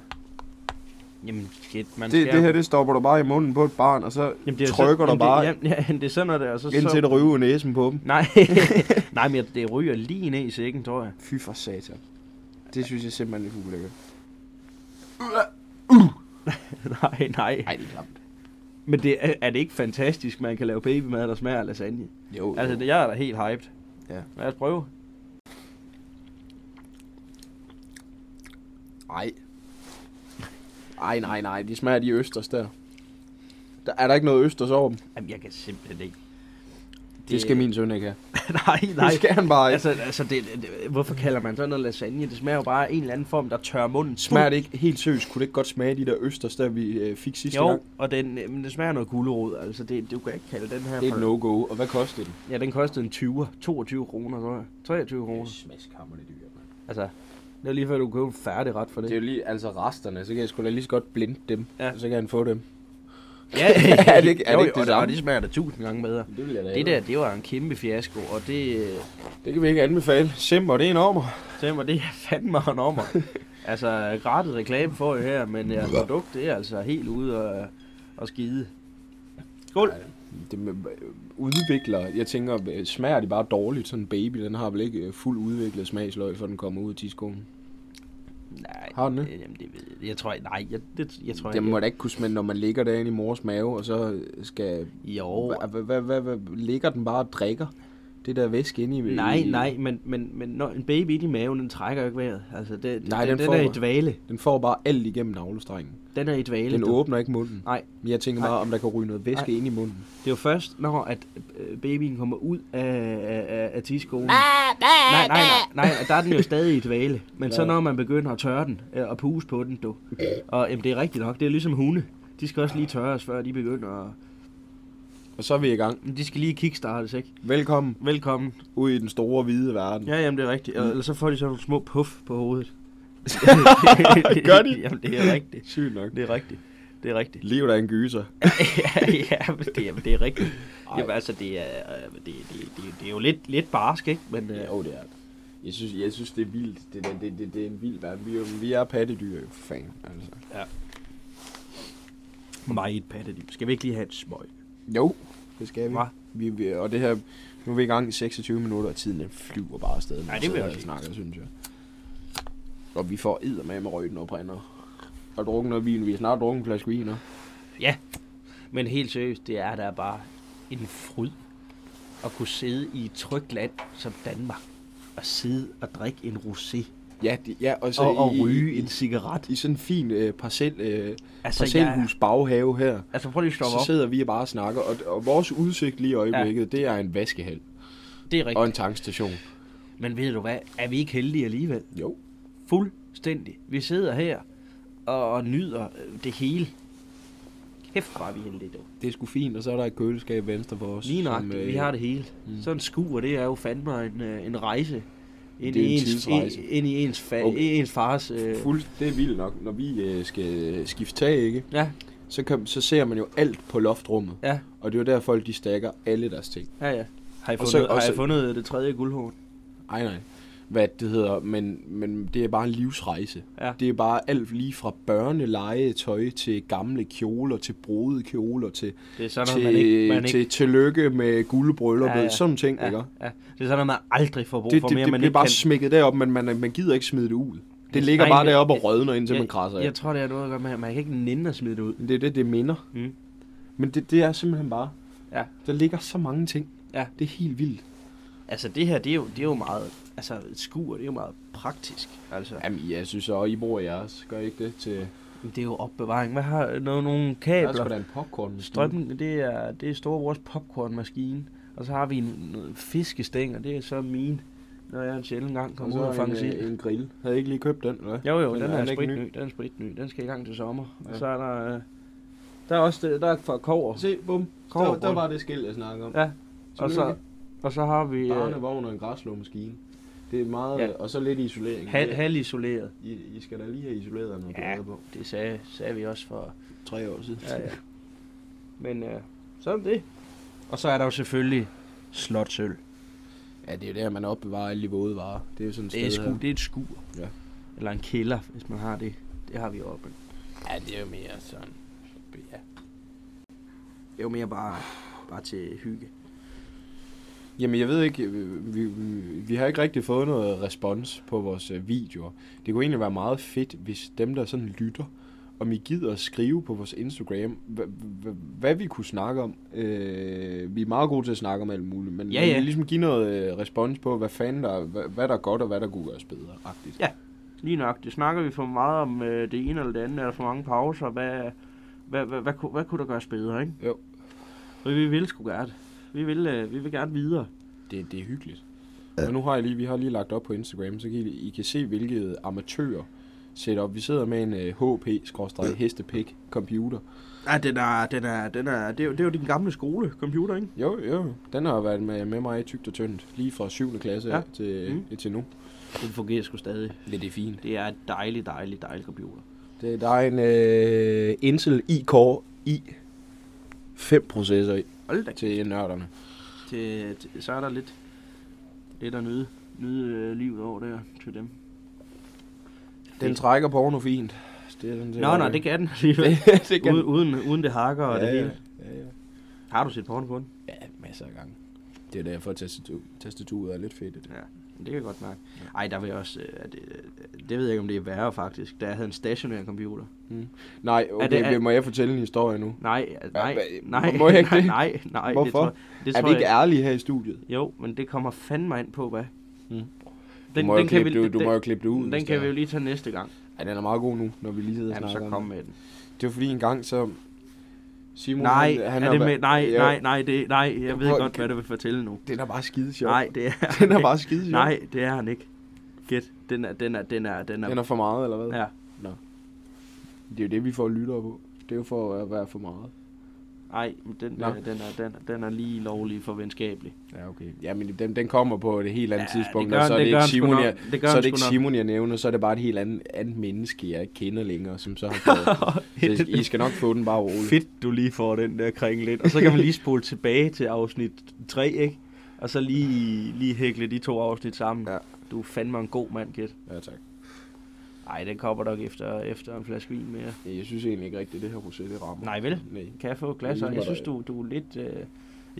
[SPEAKER 3] Jamen, shit, man
[SPEAKER 4] Det,
[SPEAKER 3] skal...
[SPEAKER 4] det her, det stopper du bare i munden på et barn, og så
[SPEAKER 3] jamen,
[SPEAKER 4] Jamen,
[SPEAKER 3] det er
[SPEAKER 4] trykker
[SPEAKER 3] så,
[SPEAKER 4] du bare
[SPEAKER 3] Jamen, det, jamen, <laughs> det er sådan noget der, og så...
[SPEAKER 4] indtil
[SPEAKER 3] så
[SPEAKER 4] det ryger næsen på dem. <laughs>
[SPEAKER 3] Nej, nej, men jeg- det ryger lige ned i sækken, tror jeg.
[SPEAKER 4] Fy for satan. Det synes jeg simpelthen er ulækkert.
[SPEAKER 3] nej, nej.
[SPEAKER 4] <laughs> Nej, det er klamt.
[SPEAKER 3] Men det, er, er det ikke fantastisk, man kan lave babymad, der smager af lasagne?
[SPEAKER 4] Jo,
[SPEAKER 3] Altså,
[SPEAKER 4] jo.
[SPEAKER 3] det, jeg er da helt hyped.
[SPEAKER 4] Ja.
[SPEAKER 3] Lad os prøve.
[SPEAKER 4] Ej. Ej, nej, nej. De smager af de østers der. der. Er der ikke noget østers over dem? Det,
[SPEAKER 3] Jamen, jeg kan simpelthen ikke.
[SPEAKER 4] det skal min søn ikke have.
[SPEAKER 3] <laughs> nej, nej.
[SPEAKER 4] Det skal han bare
[SPEAKER 3] <laughs>
[SPEAKER 4] ikke.
[SPEAKER 3] Altså, altså det, det, hvorfor kalder man sådan noget lasagne? Det smager jo bare af en eller anden form, der tør munden.
[SPEAKER 4] Smager det ikke helt seriøst? Kunne det ikke godt smage de der østers, der vi øh, fik sidste
[SPEAKER 3] Jo,
[SPEAKER 4] gang?
[SPEAKER 3] og den, øh, men det smager noget gulerod. Altså, det, du kan ikke kalde den her
[SPEAKER 4] Det er
[SPEAKER 3] for...
[SPEAKER 4] et no-go. Og hvad kostede den?
[SPEAKER 3] Ja, den kostede en 20, 22 kroner, tror jeg. 23 kroner.
[SPEAKER 4] Smaskhammer det dyrt, mand.
[SPEAKER 3] Altså, det var lige før, du købte en færdig ret for det.
[SPEAKER 4] Det er jo lige, altså resterne, så kan jeg sgu da lige så godt blinde dem,
[SPEAKER 3] Ja.
[SPEAKER 4] og så kan han få dem. <laughs>
[SPEAKER 3] ja,
[SPEAKER 4] er det ikke- er det
[SPEAKER 3] jo,
[SPEAKER 4] ikke det
[SPEAKER 3] jo, og
[SPEAKER 4] samme?
[SPEAKER 3] Og det smager da tusind gange bedre.
[SPEAKER 4] Det, vil jeg da
[SPEAKER 3] Det der, det var en kæmpe fiasko, og det... øh,
[SPEAKER 4] det kan vi ikke anbefale. Simmer, det er en ommer.
[SPEAKER 3] Det var det, jeg <laughs> fandme en ommer.
[SPEAKER 4] <laughs>
[SPEAKER 3] altså, gratis reklame får jeg her, men jeres produkt, det er altså helt ude og, og skide. Skål!
[SPEAKER 4] Det med, øh, udvikler, jeg tænker, øh, smager det bare dårligt, sådan en baby, den har vel ikke øh, fuld udviklet smagsløg, før den kommer ud til skolen.
[SPEAKER 3] Nej,
[SPEAKER 4] Har den det?
[SPEAKER 3] øh, jamen, det ved jeg, jeg tror ikke, nej, jeg, det, jeg tror
[SPEAKER 4] Det
[SPEAKER 3] ikke.
[SPEAKER 4] må da ikke kunne smage, når man ligger derinde i mors mave, og så skal...
[SPEAKER 3] Jo,
[SPEAKER 4] Hva- hva- hva- hva- hva- Ligger den bare og drikker? Det der væske inde i...
[SPEAKER 3] nej,
[SPEAKER 4] i-
[SPEAKER 3] nej, men, men, men når en baby inde i maven, den trækker jo ikke vejret. Altså, det,
[SPEAKER 4] Nej,
[SPEAKER 3] den,
[SPEAKER 4] den
[SPEAKER 3] den,
[SPEAKER 4] får-
[SPEAKER 3] er i dvale.
[SPEAKER 4] Den får bare alt igennem navlestrengen.
[SPEAKER 3] Den er i dvale.
[SPEAKER 4] Den
[SPEAKER 3] du.
[SPEAKER 4] åbner ikke munden.
[SPEAKER 3] Nej,
[SPEAKER 4] Men jeg tænker
[SPEAKER 3] Nej.
[SPEAKER 4] bare, om der kan ryge noget væske ind i munden.
[SPEAKER 3] det er jo først, når at øh, babyen kommer ud af, af, af- af tiskolen. Nej, nej, nej, nej, der er den jo stadig i dvale. Men så når man begynder at tørre den øh, og puse på den, du. Og jamen, det er rigtigt nok, det er ligesom hunde. De skal også lige tørres, før de begynder at...
[SPEAKER 4] Og så er vi i gang.
[SPEAKER 3] men De skal lige kickstartes, ikke?
[SPEAKER 4] Velkommen
[SPEAKER 3] Velkommen.
[SPEAKER 4] ud i den store, hvide <laughs> verden.
[SPEAKER 3] Ja, jamen, det er rigtigt. Og, eller så får de sådan nogle små puff på <laughs> hovedet.
[SPEAKER 4] Gør de?
[SPEAKER 3] Jamen, det er rigtigt.
[SPEAKER 4] Sygt nok.
[SPEAKER 3] Det er rigtigt. Det er rigtigt.
[SPEAKER 4] Livet er en gyser.
[SPEAKER 3] <laughs> ja, ja, men det, er, men det er rigtigt. Jamen, altså, det er, øh, det, det, det, det er jo lidt, lidt barsk, ikke? Men, øh,
[SPEAKER 4] Jo, det er det. Jeg synes, jeg synes det er vildt. Det, det, det, det, det er en vild verden. Vi, er jo- vi er pattedyr, jo, for fanden. Altså.
[SPEAKER 3] meget pattedyr. Skal vi ikke lige have et smøg?
[SPEAKER 4] Jo, det skal vi.
[SPEAKER 3] Hva?
[SPEAKER 4] vi, vi og det her, nu er vi i gang i 26 minutter, og tiden den flyver bare afsted.
[SPEAKER 3] Ej, det vil jeg også
[SPEAKER 4] jeg snakker, synes jeg. Og vi får edder med med røgten og brænder. Og drukken noget vin. Vi har snart drukket en flaske vin. hva'?
[SPEAKER 3] Men helt seriøst, det er der bare en fryd at kunne sidde i et trygt land som Danmark og sidde og drikke en rosé
[SPEAKER 4] Ja, det, ja, og så
[SPEAKER 3] og, og
[SPEAKER 4] Altså, i,
[SPEAKER 3] ryge
[SPEAKER 4] i,
[SPEAKER 3] en cigaret.
[SPEAKER 4] i sådan en fin øh, parcel, øh,
[SPEAKER 3] Altså, jeg,
[SPEAKER 4] parcelhus baghave her.
[SPEAKER 3] altså prøv lige at stoppe
[SPEAKER 4] Så
[SPEAKER 3] op.
[SPEAKER 4] sidder vi og bare snakker, og, og vores udsigt lige i øjeblikket, ja. det er en vaskehal
[SPEAKER 3] Det er
[SPEAKER 4] og
[SPEAKER 3] rigtigt.
[SPEAKER 4] en tankstation.
[SPEAKER 3] Men ved du hvad, er vi ikke heldige alligevel?
[SPEAKER 4] Jo.
[SPEAKER 3] Fuldstændig. Vi sidder her og, og nyder øh, det hele. Kæft, var vi heldige, dog.
[SPEAKER 4] Det er sgu fint, og så er der et køleskab venstre for os.
[SPEAKER 3] Lige nøjagtigt, vi har det hele.
[SPEAKER 4] mm.
[SPEAKER 3] Mm. Sådan en skur, det er jo fandme en, øh, en rejse. Ind
[SPEAKER 4] Det er
[SPEAKER 3] i
[SPEAKER 4] en
[SPEAKER 3] ens,
[SPEAKER 4] tidsrejse.
[SPEAKER 3] ind, ind i ens, fa-
[SPEAKER 4] Okay.
[SPEAKER 3] okay. ens fars... Øh,
[SPEAKER 4] Fuld, det er vildt nok. Når vi øh, skal skifte tag, ikke?
[SPEAKER 3] ja,
[SPEAKER 4] Så, kan, så ser man jo alt på loftrummet.
[SPEAKER 3] ja,
[SPEAKER 4] Og det er jo der, folk de stakker alle deres ting.
[SPEAKER 3] ja, ja. Har I
[SPEAKER 4] Og
[SPEAKER 3] fundet,
[SPEAKER 4] så-
[SPEAKER 3] så,
[SPEAKER 4] og
[SPEAKER 3] har
[SPEAKER 4] så-
[SPEAKER 3] I fundet det tredje guldhorn?
[SPEAKER 4] Ej nej, hvad det hedder. Men, men det er bare en livsrejse.
[SPEAKER 3] Ja.
[SPEAKER 4] Det er bare alt lige fra børnelegetøj til gamle kjoler, til brudede kjoler, til,
[SPEAKER 3] Det er sådan
[SPEAKER 4] til,
[SPEAKER 3] noget, man ikke... Man ikke
[SPEAKER 4] til tillykke med guldbrylluppet. Ja,
[SPEAKER 3] Ja,
[SPEAKER 4] ja.
[SPEAKER 3] ja.
[SPEAKER 4] Sådan nogle ting,
[SPEAKER 3] ja,
[SPEAKER 4] ikke?
[SPEAKER 3] ja. Det er sådan noget, man aldrig får brug
[SPEAKER 4] det,
[SPEAKER 3] for
[SPEAKER 4] det,
[SPEAKER 3] mere,
[SPEAKER 4] det
[SPEAKER 3] man
[SPEAKER 4] bliver
[SPEAKER 3] ikke
[SPEAKER 4] bare
[SPEAKER 3] kan...
[SPEAKER 4] smækket derop, men man, man gider ikke smide det ud. Det ligger
[SPEAKER 3] Nej,
[SPEAKER 4] bare
[SPEAKER 3] men-
[SPEAKER 4] deroppe og rådner, indtil man krasser
[SPEAKER 3] jeg,
[SPEAKER 4] af.
[SPEAKER 3] jeg tror, det er noget at gøre med, at man kan ikke nænde at smide det ud.
[SPEAKER 4] Men Det er det, det minder.
[SPEAKER 3] Mm.
[SPEAKER 4] Men det, det er simpelthen bare...
[SPEAKER 3] Ja.
[SPEAKER 4] Der ligger så mange ting.
[SPEAKER 3] Ja.
[SPEAKER 4] Det er helt vildt.
[SPEAKER 3] Altså, det her, det er jo, det er jo meget... Altså, et skur, det er jo meget praktisk. Altså,
[SPEAKER 4] Jamen, jeg synes så, I bruger jeres. Gør I ikke det til...
[SPEAKER 3] det er jo opbevaring. Hvad har... Noget, nogle
[SPEAKER 4] Der er
[SPEAKER 3] kabler?
[SPEAKER 4] sgu da en popcorn.
[SPEAKER 3] Strømmen, det er, det er storebrors popcornmaskine. Og så har vi en, noget fiskestænger, det er så min, når jeg en sjældent gang
[SPEAKER 4] Og
[SPEAKER 3] kommer ud og
[SPEAKER 4] så en,
[SPEAKER 3] fanger sild.
[SPEAKER 4] øh, en grill. Havde I ikke lige købt den, eller hvad?
[SPEAKER 3] Jo jo,
[SPEAKER 4] men
[SPEAKER 3] den
[SPEAKER 4] er
[SPEAKER 3] er,
[SPEAKER 4] den ikke
[SPEAKER 3] spritny, den er spritny, den skal i gang til sommer.
[SPEAKER 4] Ja.
[SPEAKER 3] Og så er der, øh, der er også det, der er fra kover.
[SPEAKER 4] Se, bum. Der,
[SPEAKER 3] Kobberbrød.
[SPEAKER 4] der var det skilt, jeg snakkede om.
[SPEAKER 3] Ja, og så,
[SPEAKER 4] Tillykke.
[SPEAKER 3] og så har vi øh,
[SPEAKER 4] Barnevogn og en græslåmaskine. Det er meget...
[SPEAKER 3] Ja.
[SPEAKER 4] Og så lidt isolering.
[SPEAKER 3] hal,
[SPEAKER 4] Det-
[SPEAKER 3] halvisoleret.
[SPEAKER 4] I, I, skal da lige have isoleret noget
[SPEAKER 3] Ja.
[SPEAKER 4] ja. på.
[SPEAKER 3] Det sagde, sagde vi også for...
[SPEAKER 4] Tre år siden.
[SPEAKER 3] Ja, ja. Men øh, sådan det. Og så er der jo selvfølgelig slotsøl.
[SPEAKER 4] Ja, det er jo der, man opbevarer alle de våde varer. Det er jo sådan et
[SPEAKER 3] Det er,
[SPEAKER 4] sted
[SPEAKER 3] sku,
[SPEAKER 4] her.
[SPEAKER 3] det er et skur.
[SPEAKER 4] Ja.
[SPEAKER 3] Eller en kælder, hvis man har det. Det har vi oppe.
[SPEAKER 4] Ja, det er jo mere sådan. Ja.
[SPEAKER 3] Det er jo mere bare, bare til hygge.
[SPEAKER 4] Jamen, jeg ved ikke, øh, vi, vi- vi har ikke rigtig fået noget respons på vores øh, videoer. Det kunne egentlig være meget fedt, hvis dem, der sådan lytter om I gider at skrive på vores Instagram, hva- hva- hvad vi kunne snakke om. Øh, vi er meget gode til at snakke om alt muligt, men
[SPEAKER 3] Ja,
[SPEAKER 4] men
[SPEAKER 3] ja.
[SPEAKER 4] ligesom give noget øh, respons på, hvad fanden der, hvad, hvad der er godt og hvad der kunne gøres bedre. -agtigt.
[SPEAKER 3] Ja. Lige nok, det snakker vi for meget om øh, det ene eller det andet, er der for mange pauser, hvad, hvad, hvad, hvad, kunne, hvad kunne der gøres bedre, ikke?
[SPEAKER 4] Jo.
[SPEAKER 3] Og vi vil sgu gerne. Vi vil, øh, vi vil gerne videre.
[SPEAKER 4] Det, det er hyggeligt. Og nu har jeg lige, vi har lige lagt op på Instagram, så kan I, I kan se, hvilke amatører sætter op. Vi sidder med en øh, HP-hestepik computer.
[SPEAKER 3] Ja, den er, den er, den er, det, er, jo- det er jo din gamle skole, computer, ikke?
[SPEAKER 4] Jo, jo. Den har været med, med mig i tygt og tyndt, lige fra 7. klasse
[SPEAKER 3] Ja.
[SPEAKER 4] ja. til,
[SPEAKER 3] Mm.
[SPEAKER 4] mm. til nu.
[SPEAKER 3] Den fungerer sgu stadig.
[SPEAKER 4] Det, det er fint.
[SPEAKER 3] Det er et dejligt, dejligt, dejligt computer.
[SPEAKER 4] Det, der er en øh, Intel iCore i 5 processor i,
[SPEAKER 3] Hold da
[SPEAKER 4] til nørderne.
[SPEAKER 3] til, til, så er der lidt, lidt at nyde, nyde øh, livet over der til dem.
[SPEAKER 4] Den trækker porno fint. Det er sådan, set
[SPEAKER 3] Nå, nej,
[SPEAKER 4] okay.
[SPEAKER 3] det kan den <laughs> alligevel. <laughs>
[SPEAKER 4] det, det kan
[SPEAKER 3] Uden, Øh, uden, uden det hakker og ja, det
[SPEAKER 4] ja,
[SPEAKER 3] hele.
[SPEAKER 4] ja, ja, ja.
[SPEAKER 3] Har du set porno på den?
[SPEAKER 4] ja, masser af gange. Det er derfor, at tastatu- tastaturet er lidt fedt. Det.
[SPEAKER 3] Det kan jeg godt mærke. Ej, der vil jeg også... Øh, det, det ved jeg ikke, om det er værre faktisk. Da jeg havde en stationær computer.
[SPEAKER 4] Nej, okay,
[SPEAKER 3] det-
[SPEAKER 4] det,
[SPEAKER 3] er-
[SPEAKER 4] må jeg fortælle en historie nu?
[SPEAKER 3] Nej, øh, nej,
[SPEAKER 4] hvad-
[SPEAKER 3] nej.
[SPEAKER 4] må jeg ikke
[SPEAKER 3] nej,
[SPEAKER 4] det?
[SPEAKER 3] Nej, nej. Det
[SPEAKER 4] Hvorfor?
[SPEAKER 3] tror, det
[SPEAKER 4] Er
[SPEAKER 3] tror
[SPEAKER 4] vi ikke
[SPEAKER 3] jeg,
[SPEAKER 4] ærlige her i studiet?
[SPEAKER 3] Jo, men det kommer fandme ind på, hvad?
[SPEAKER 4] Mm. Den, du må, jo klippe, det, du, du må jo klippe det ud.
[SPEAKER 3] den,
[SPEAKER 4] hvis
[SPEAKER 3] den kan
[SPEAKER 4] det
[SPEAKER 3] vi
[SPEAKER 4] er.
[SPEAKER 3] jo lige tage næste gang.
[SPEAKER 4] Ej, den er meget god nu, når vi lige sidder og
[SPEAKER 3] Jamen,
[SPEAKER 4] snakker
[SPEAKER 3] så
[SPEAKER 4] om
[SPEAKER 3] kom
[SPEAKER 4] det.
[SPEAKER 3] med den.
[SPEAKER 4] Det var fordi en gang, så... Simon,
[SPEAKER 3] Nej,
[SPEAKER 4] han, han
[SPEAKER 3] er
[SPEAKER 4] har
[SPEAKER 3] det
[SPEAKER 4] været-
[SPEAKER 3] med, nej,
[SPEAKER 4] Ja,
[SPEAKER 3] nej, nej, det, nej, jeg ved
[SPEAKER 4] Prøv-
[SPEAKER 3] godt, hvad du vil fortælle nu.
[SPEAKER 4] Den er bare skide sjov. <laughs>
[SPEAKER 3] Nej, det er
[SPEAKER 4] Den er
[SPEAKER 3] ikke. <laughs>
[SPEAKER 4] bare skide sjov.
[SPEAKER 3] Nej, det er han ikke. Gæt. Den er, den er, den er, den er.
[SPEAKER 4] Den er for meget, eller hvad?
[SPEAKER 3] ja.
[SPEAKER 4] Det er jo det, vi får lyttere på. Det er jo for at være for meget.
[SPEAKER 3] Nej, men den,
[SPEAKER 4] Nå.
[SPEAKER 3] er, den, er, den, er, den er lige lovlig for venskabelig.
[SPEAKER 4] Ja, okay. Ja, men den, den kommer på et helt andet
[SPEAKER 3] Ja,
[SPEAKER 4] tidspunkt,
[SPEAKER 3] det gør
[SPEAKER 4] og så
[SPEAKER 3] den-
[SPEAKER 4] er
[SPEAKER 3] det
[SPEAKER 4] det,
[SPEAKER 3] gør
[SPEAKER 4] ikke
[SPEAKER 3] den sgu
[SPEAKER 4] Simon,
[SPEAKER 3] nok.
[SPEAKER 4] jeg,
[SPEAKER 3] Det gør
[SPEAKER 4] så er
[SPEAKER 3] den
[SPEAKER 4] det ikke
[SPEAKER 3] sgu nok.
[SPEAKER 4] Simon, jeg nævner, så er det bare et helt andet, andet menneske, jeg ikke kender længere,
[SPEAKER 3] <laughs>
[SPEAKER 4] som så har fået den. Så I skal nok få den bare roligt.
[SPEAKER 3] Fedt, du lige får den der kring lidt. Og så kan man lige spole tilbage til afsnit 3, ikke? Og så lige, lige hækle de to afsnit sammen.
[SPEAKER 4] Ja.
[SPEAKER 3] Du er fandme en god mand, Gæt.
[SPEAKER 4] Ja, tak.
[SPEAKER 3] Ej, den kommer nok efter, efter en flaske vin mere.
[SPEAKER 4] Ja, Jeg synes egentlig ikke rigtigt, det her projekt det rammer.
[SPEAKER 3] Nej, vel?
[SPEAKER 4] Nej.
[SPEAKER 3] Kan jeg få et glas?
[SPEAKER 4] Det er
[SPEAKER 3] Og Jeg
[SPEAKER 4] ligesom,
[SPEAKER 3] synes, du, du er lidt øh,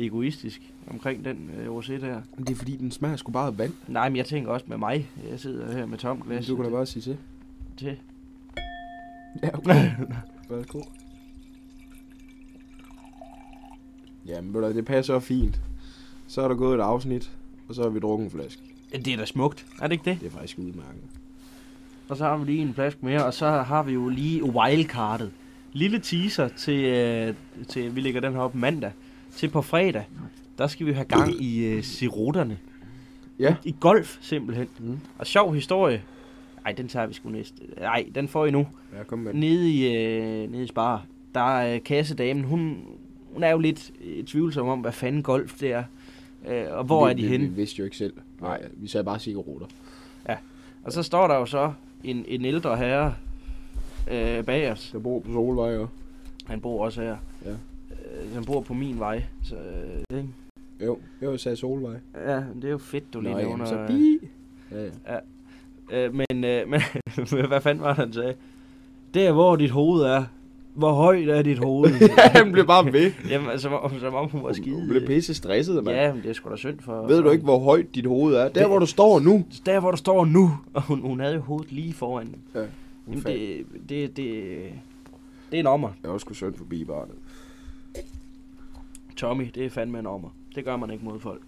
[SPEAKER 3] egoistisk omkring den øh, rosé der.
[SPEAKER 4] Men Det er fordi, den smager sgu bare af vand.
[SPEAKER 3] Nej, men jeg tænker også med mig. Jeg sidder her med tom glas.
[SPEAKER 4] Du kunne da bare sige til. <laughs>
[SPEAKER 3] til.
[SPEAKER 4] Ja, okay. Værsgo. Jamen, ved du hvad, det passer fint. Så er der gået et afsnit, og så har vi drukket en flaske.
[SPEAKER 3] Det er da smukt, er det ikke det?
[SPEAKER 4] Det er faktisk udmærket.
[SPEAKER 3] Og så har vi lige en flaske mere, og så har vi jo lige wildcardet. Lille teaser til, øh, til vi lægger den her op mandag, til på fredag. Der skal vi have gang i øh, siroterne.
[SPEAKER 4] Ja.
[SPEAKER 3] I golf, simpelthen. Mm.
[SPEAKER 4] Mm.
[SPEAKER 3] Og sjov historie. Nej, den tager vi sgu næste. Nej, den får I nu.
[SPEAKER 4] Ja, kom med. den.
[SPEAKER 3] Nede i, øh, nede i Spar, der er øh, kassedamen, hun, hun er jo lidt øh, tvivlsom om, hvad fanden golf det er. Øh, og hvor
[SPEAKER 4] Vi-
[SPEAKER 3] er de
[SPEAKER 4] vi-
[SPEAKER 3] henne?
[SPEAKER 4] Vi vidste jo ikke selv. Nej, vi sagde bare cigaretter.
[SPEAKER 3] Og så står der jo så en, en ældre herre øh, bag os.
[SPEAKER 4] Der bor på Solvej jo.
[SPEAKER 3] Han bor også her.
[SPEAKER 4] Ja.
[SPEAKER 3] Øh, han bor på min vej. Så, øh, ikke?
[SPEAKER 4] Jo, jeg sagde Solvej.
[SPEAKER 3] ja, men det er jo fedt, du lige
[SPEAKER 4] Nå,
[SPEAKER 3] nævner.
[SPEAKER 4] jamen, så
[SPEAKER 3] øh,
[SPEAKER 4] bi. Ja, ja.
[SPEAKER 3] øh, men, øh, <laughs> men hvad fanden var det, han sagde? Der, hvor dit hoved er. Hvor højt er dit
[SPEAKER 4] <laughs>
[SPEAKER 3] hoved?
[SPEAKER 4] han blev bare ved.
[SPEAKER 3] <laughs> Jamen, som, om- som om hun var skide.
[SPEAKER 4] Du blev pisse stresset, mand.
[SPEAKER 3] Ja, men det er sgu da synd for...
[SPEAKER 4] Ved du
[SPEAKER 3] for-
[SPEAKER 4] ikke, hvor højt dit hoved er? Der,
[SPEAKER 3] Det-
[SPEAKER 4] hvor du står nu.
[SPEAKER 3] Der, hvor du står nu. <laughs> Og hun, hun havde jo hovedet lige foran dem. Jamen,
[SPEAKER 4] Fanden.
[SPEAKER 3] det, det, det, det er en ommer.
[SPEAKER 4] Jeg var sgu synd forbi barnet.
[SPEAKER 3] Tommy, det er fandme en ommer. Det gør man ikke mod folk.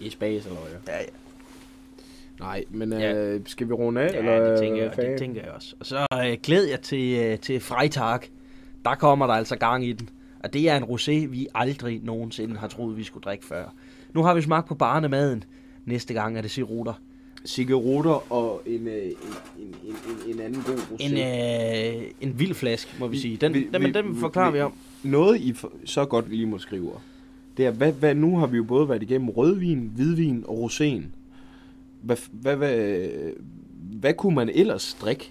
[SPEAKER 4] I spas eller hvad?
[SPEAKER 3] Ja, ja.
[SPEAKER 4] Nej, men
[SPEAKER 3] Ja.
[SPEAKER 4] øh, skal vi runde af?
[SPEAKER 3] Ja,
[SPEAKER 4] eller,
[SPEAKER 3] det tænker jeg,
[SPEAKER 4] hvad
[SPEAKER 3] og det
[SPEAKER 4] fanden?
[SPEAKER 3] tænker jeg også. Og så øh, glæder jeg til, øh, til Freitag. Der kommer der altså gang i den. Og det er en rosé, vi aldrig nogensinde har troet, vi skulle drikke før. Nu har vi smagt på barnemaden. Næste gang er det sirutter.
[SPEAKER 4] cigaretter og en, øh, en, en, en, en, en anden god rosé.
[SPEAKER 3] En, øh, en vild flaske, må vi
[SPEAKER 4] Vi-
[SPEAKER 3] sige. Den,
[SPEAKER 4] vi-
[SPEAKER 3] den, men
[SPEAKER 4] vi-
[SPEAKER 3] den
[SPEAKER 4] vi-
[SPEAKER 3] forklarer
[SPEAKER 4] vi- <laughs>
[SPEAKER 3] vi om. <laughs>
[SPEAKER 4] Noget, I for- så godt lige må skrive. Det er, hvad, hvad, nu har vi jo både været igennem rødvin, hvidvin og roséen. Hvad, f- hvad, hvad, hvad kunne man ellers drikke?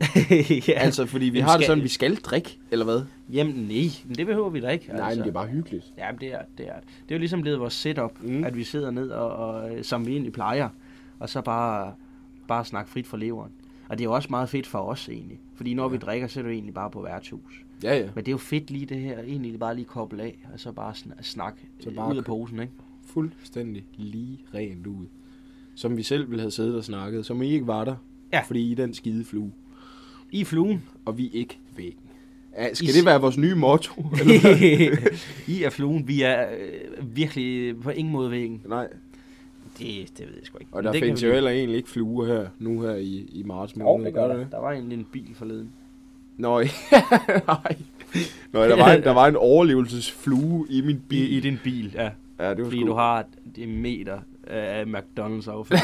[SPEAKER 3] ja.
[SPEAKER 4] Ja.
[SPEAKER 3] altså,
[SPEAKER 4] Altså, fordi vi
[SPEAKER 3] Jamen,
[SPEAKER 4] har det
[SPEAKER 3] skal-
[SPEAKER 4] sådan, vi skal drikke, eller hvad?
[SPEAKER 3] Jamen nej, men det behøver vi da ikke.
[SPEAKER 4] Altså. Nej,
[SPEAKER 3] altså.
[SPEAKER 4] men det er bare hyggeligt.
[SPEAKER 3] Ja, det er, det er, det er jo ligesom blevet vores setup, mm.
[SPEAKER 4] Mm.
[SPEAKER 3] at vi sidder ned, og, og, øh, som vi egentlig plejer, og så bare, bare snakke frit for leveren. Og det er jo også meget fedt for os egentlig, fordi når ja. vi drikker, så er det jo egentlig bare på værtshus.
[SPEAKER 4] Ja, ja.
[SPEAKER 3] Men det er jo fedt lige det her, egentlig bare lige koble af, og så bare sn- snakke
[SPEAKER 4] Så
[SPEAKER 3] øh,
[SPEAKER 4] bare
[SPEAKER 3] ud af
[SPEAKER 4] kø-
[SPEAKER 3] posen, ikke?
[SPEAKER 4] Fuldstændig lige rent ud. Som vi selv ville have siddet og snakket, som I ikke var der.
[SPEAKER 3] Ja.
[SPEAKER 4] Fordi I er den skide flue.
[SPEAKER 3] I fluen. <laughs>
[SPEAKER 4] og vi er ikke væggen. Ja, skal
[SPEAKER 3] I
[SPEAKER 4] det være vores nye
[SPEAKER 3] <laughs>
[SPEAKER 4] motto?
[SPEAKER 3] I er fluen. Vi er øh, virkelig på ingen måde væggen.
[SPEAKER 4] Nej,
[SPEAKER 3] Det, det ved jeg sgu ikke.
[SPEAKER 4] og
[SPEAKER 3] Men
[SPEAKER 4] der
[SPEAKER 3] det kan
[SPEAKER 4] findes
[SPEAKER 3] vi-
[SPEAKER 4] jo heller egentlig ikke fluer her, nu her i, i marts måned.
[SPEAKER 3] Jo, det gør der. Der var egentlig en bil forleden.
[SPEAKER 4] Nå, <laughs> ja, nej. Nå, der var, en, der var en overlevelsesflue i min bil.
[SPEAKER 3] I, i din bil, ja.
[SPEAKER 4] Ja, det var
[SPEAKER 3] Fordi
[SPEAKER 4] sgu-
[SPEAKER 3] du har en meter af McDonald's
[SPEAKER 4] <laughs>
[SPEAKER 3] affald.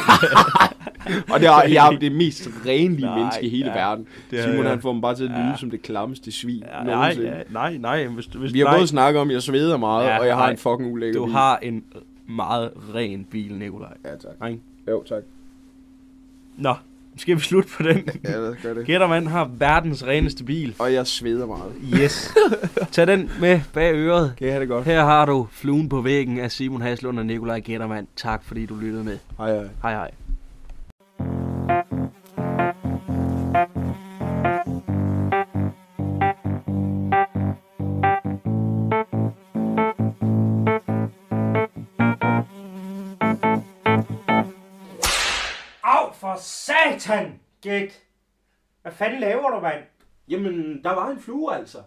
[SPEAKER 4] Og det er, jeg er det mest renlige
[SPEAKER 3] Nej,
[SPEAKER 4] menneske i hele
[SPEAKER 3] ja.
[SPEAKER 4] verden.
[SPEAKER 3] Det er-
[SPEAKER 4] Simon han får dem bare til at lyde
[SPEAKER 3] Ja.
[SPEAKER 4] som det klammeste svin
[SPEAKER 3] Ja, nej,
[SPEAKER 4] nogensinde.
[SPEAKER 3] ja, nej, nej. Hvis, du- hvis,
[SPEAKER 4] Vi har
[SPEAKER 3] nej,
[SPEAKER 4] både snakket om, at jeg sveder meget,
[SPEAKER 3] Ja,
[SPEAKER 4] og jeg har
[SPEAKER 3] nej.
[SPEAKER 4] en fucking ulækker
[SPEAKER 3] Du
[SPEAKER 4] bil.
[SPEAKER 3] har en øh, meget ren bil, Nikolaj.
[SPEAKER 4] Ja, tak.
[SPEAKER 3] Nej.
[SPEAKER 4] Jo, tak.
[SPEAKER 3] Nå, skal vi slutte
[SPEAKER 4] <laughs>
[SPEAKER 3] på den?
[SPEAKER 4] Ja, lad os gøre det.
[SPEAKER 3] Gættermand har verdens reneste bil.
[SPEAKER 4] Og jeg sveder meget.
[SPEAKER 3] Yes. Tag den med bag øret.
[SPEAKER 4] Kan I have det godt?
[SPEAKER 3] Her har du fluen på væggen af Simon Haslund og Nikolaj Gættermand. Tak fordi du lyttede med.
[SPEAKER 4] Hej, hej.
[SPEAKER 3] Hej hej.
[SPEAKER 1] Au for satan, Git! Hvad fanden laver du, mand?
[SPEAKER 2] Jamen, der var en flue altså.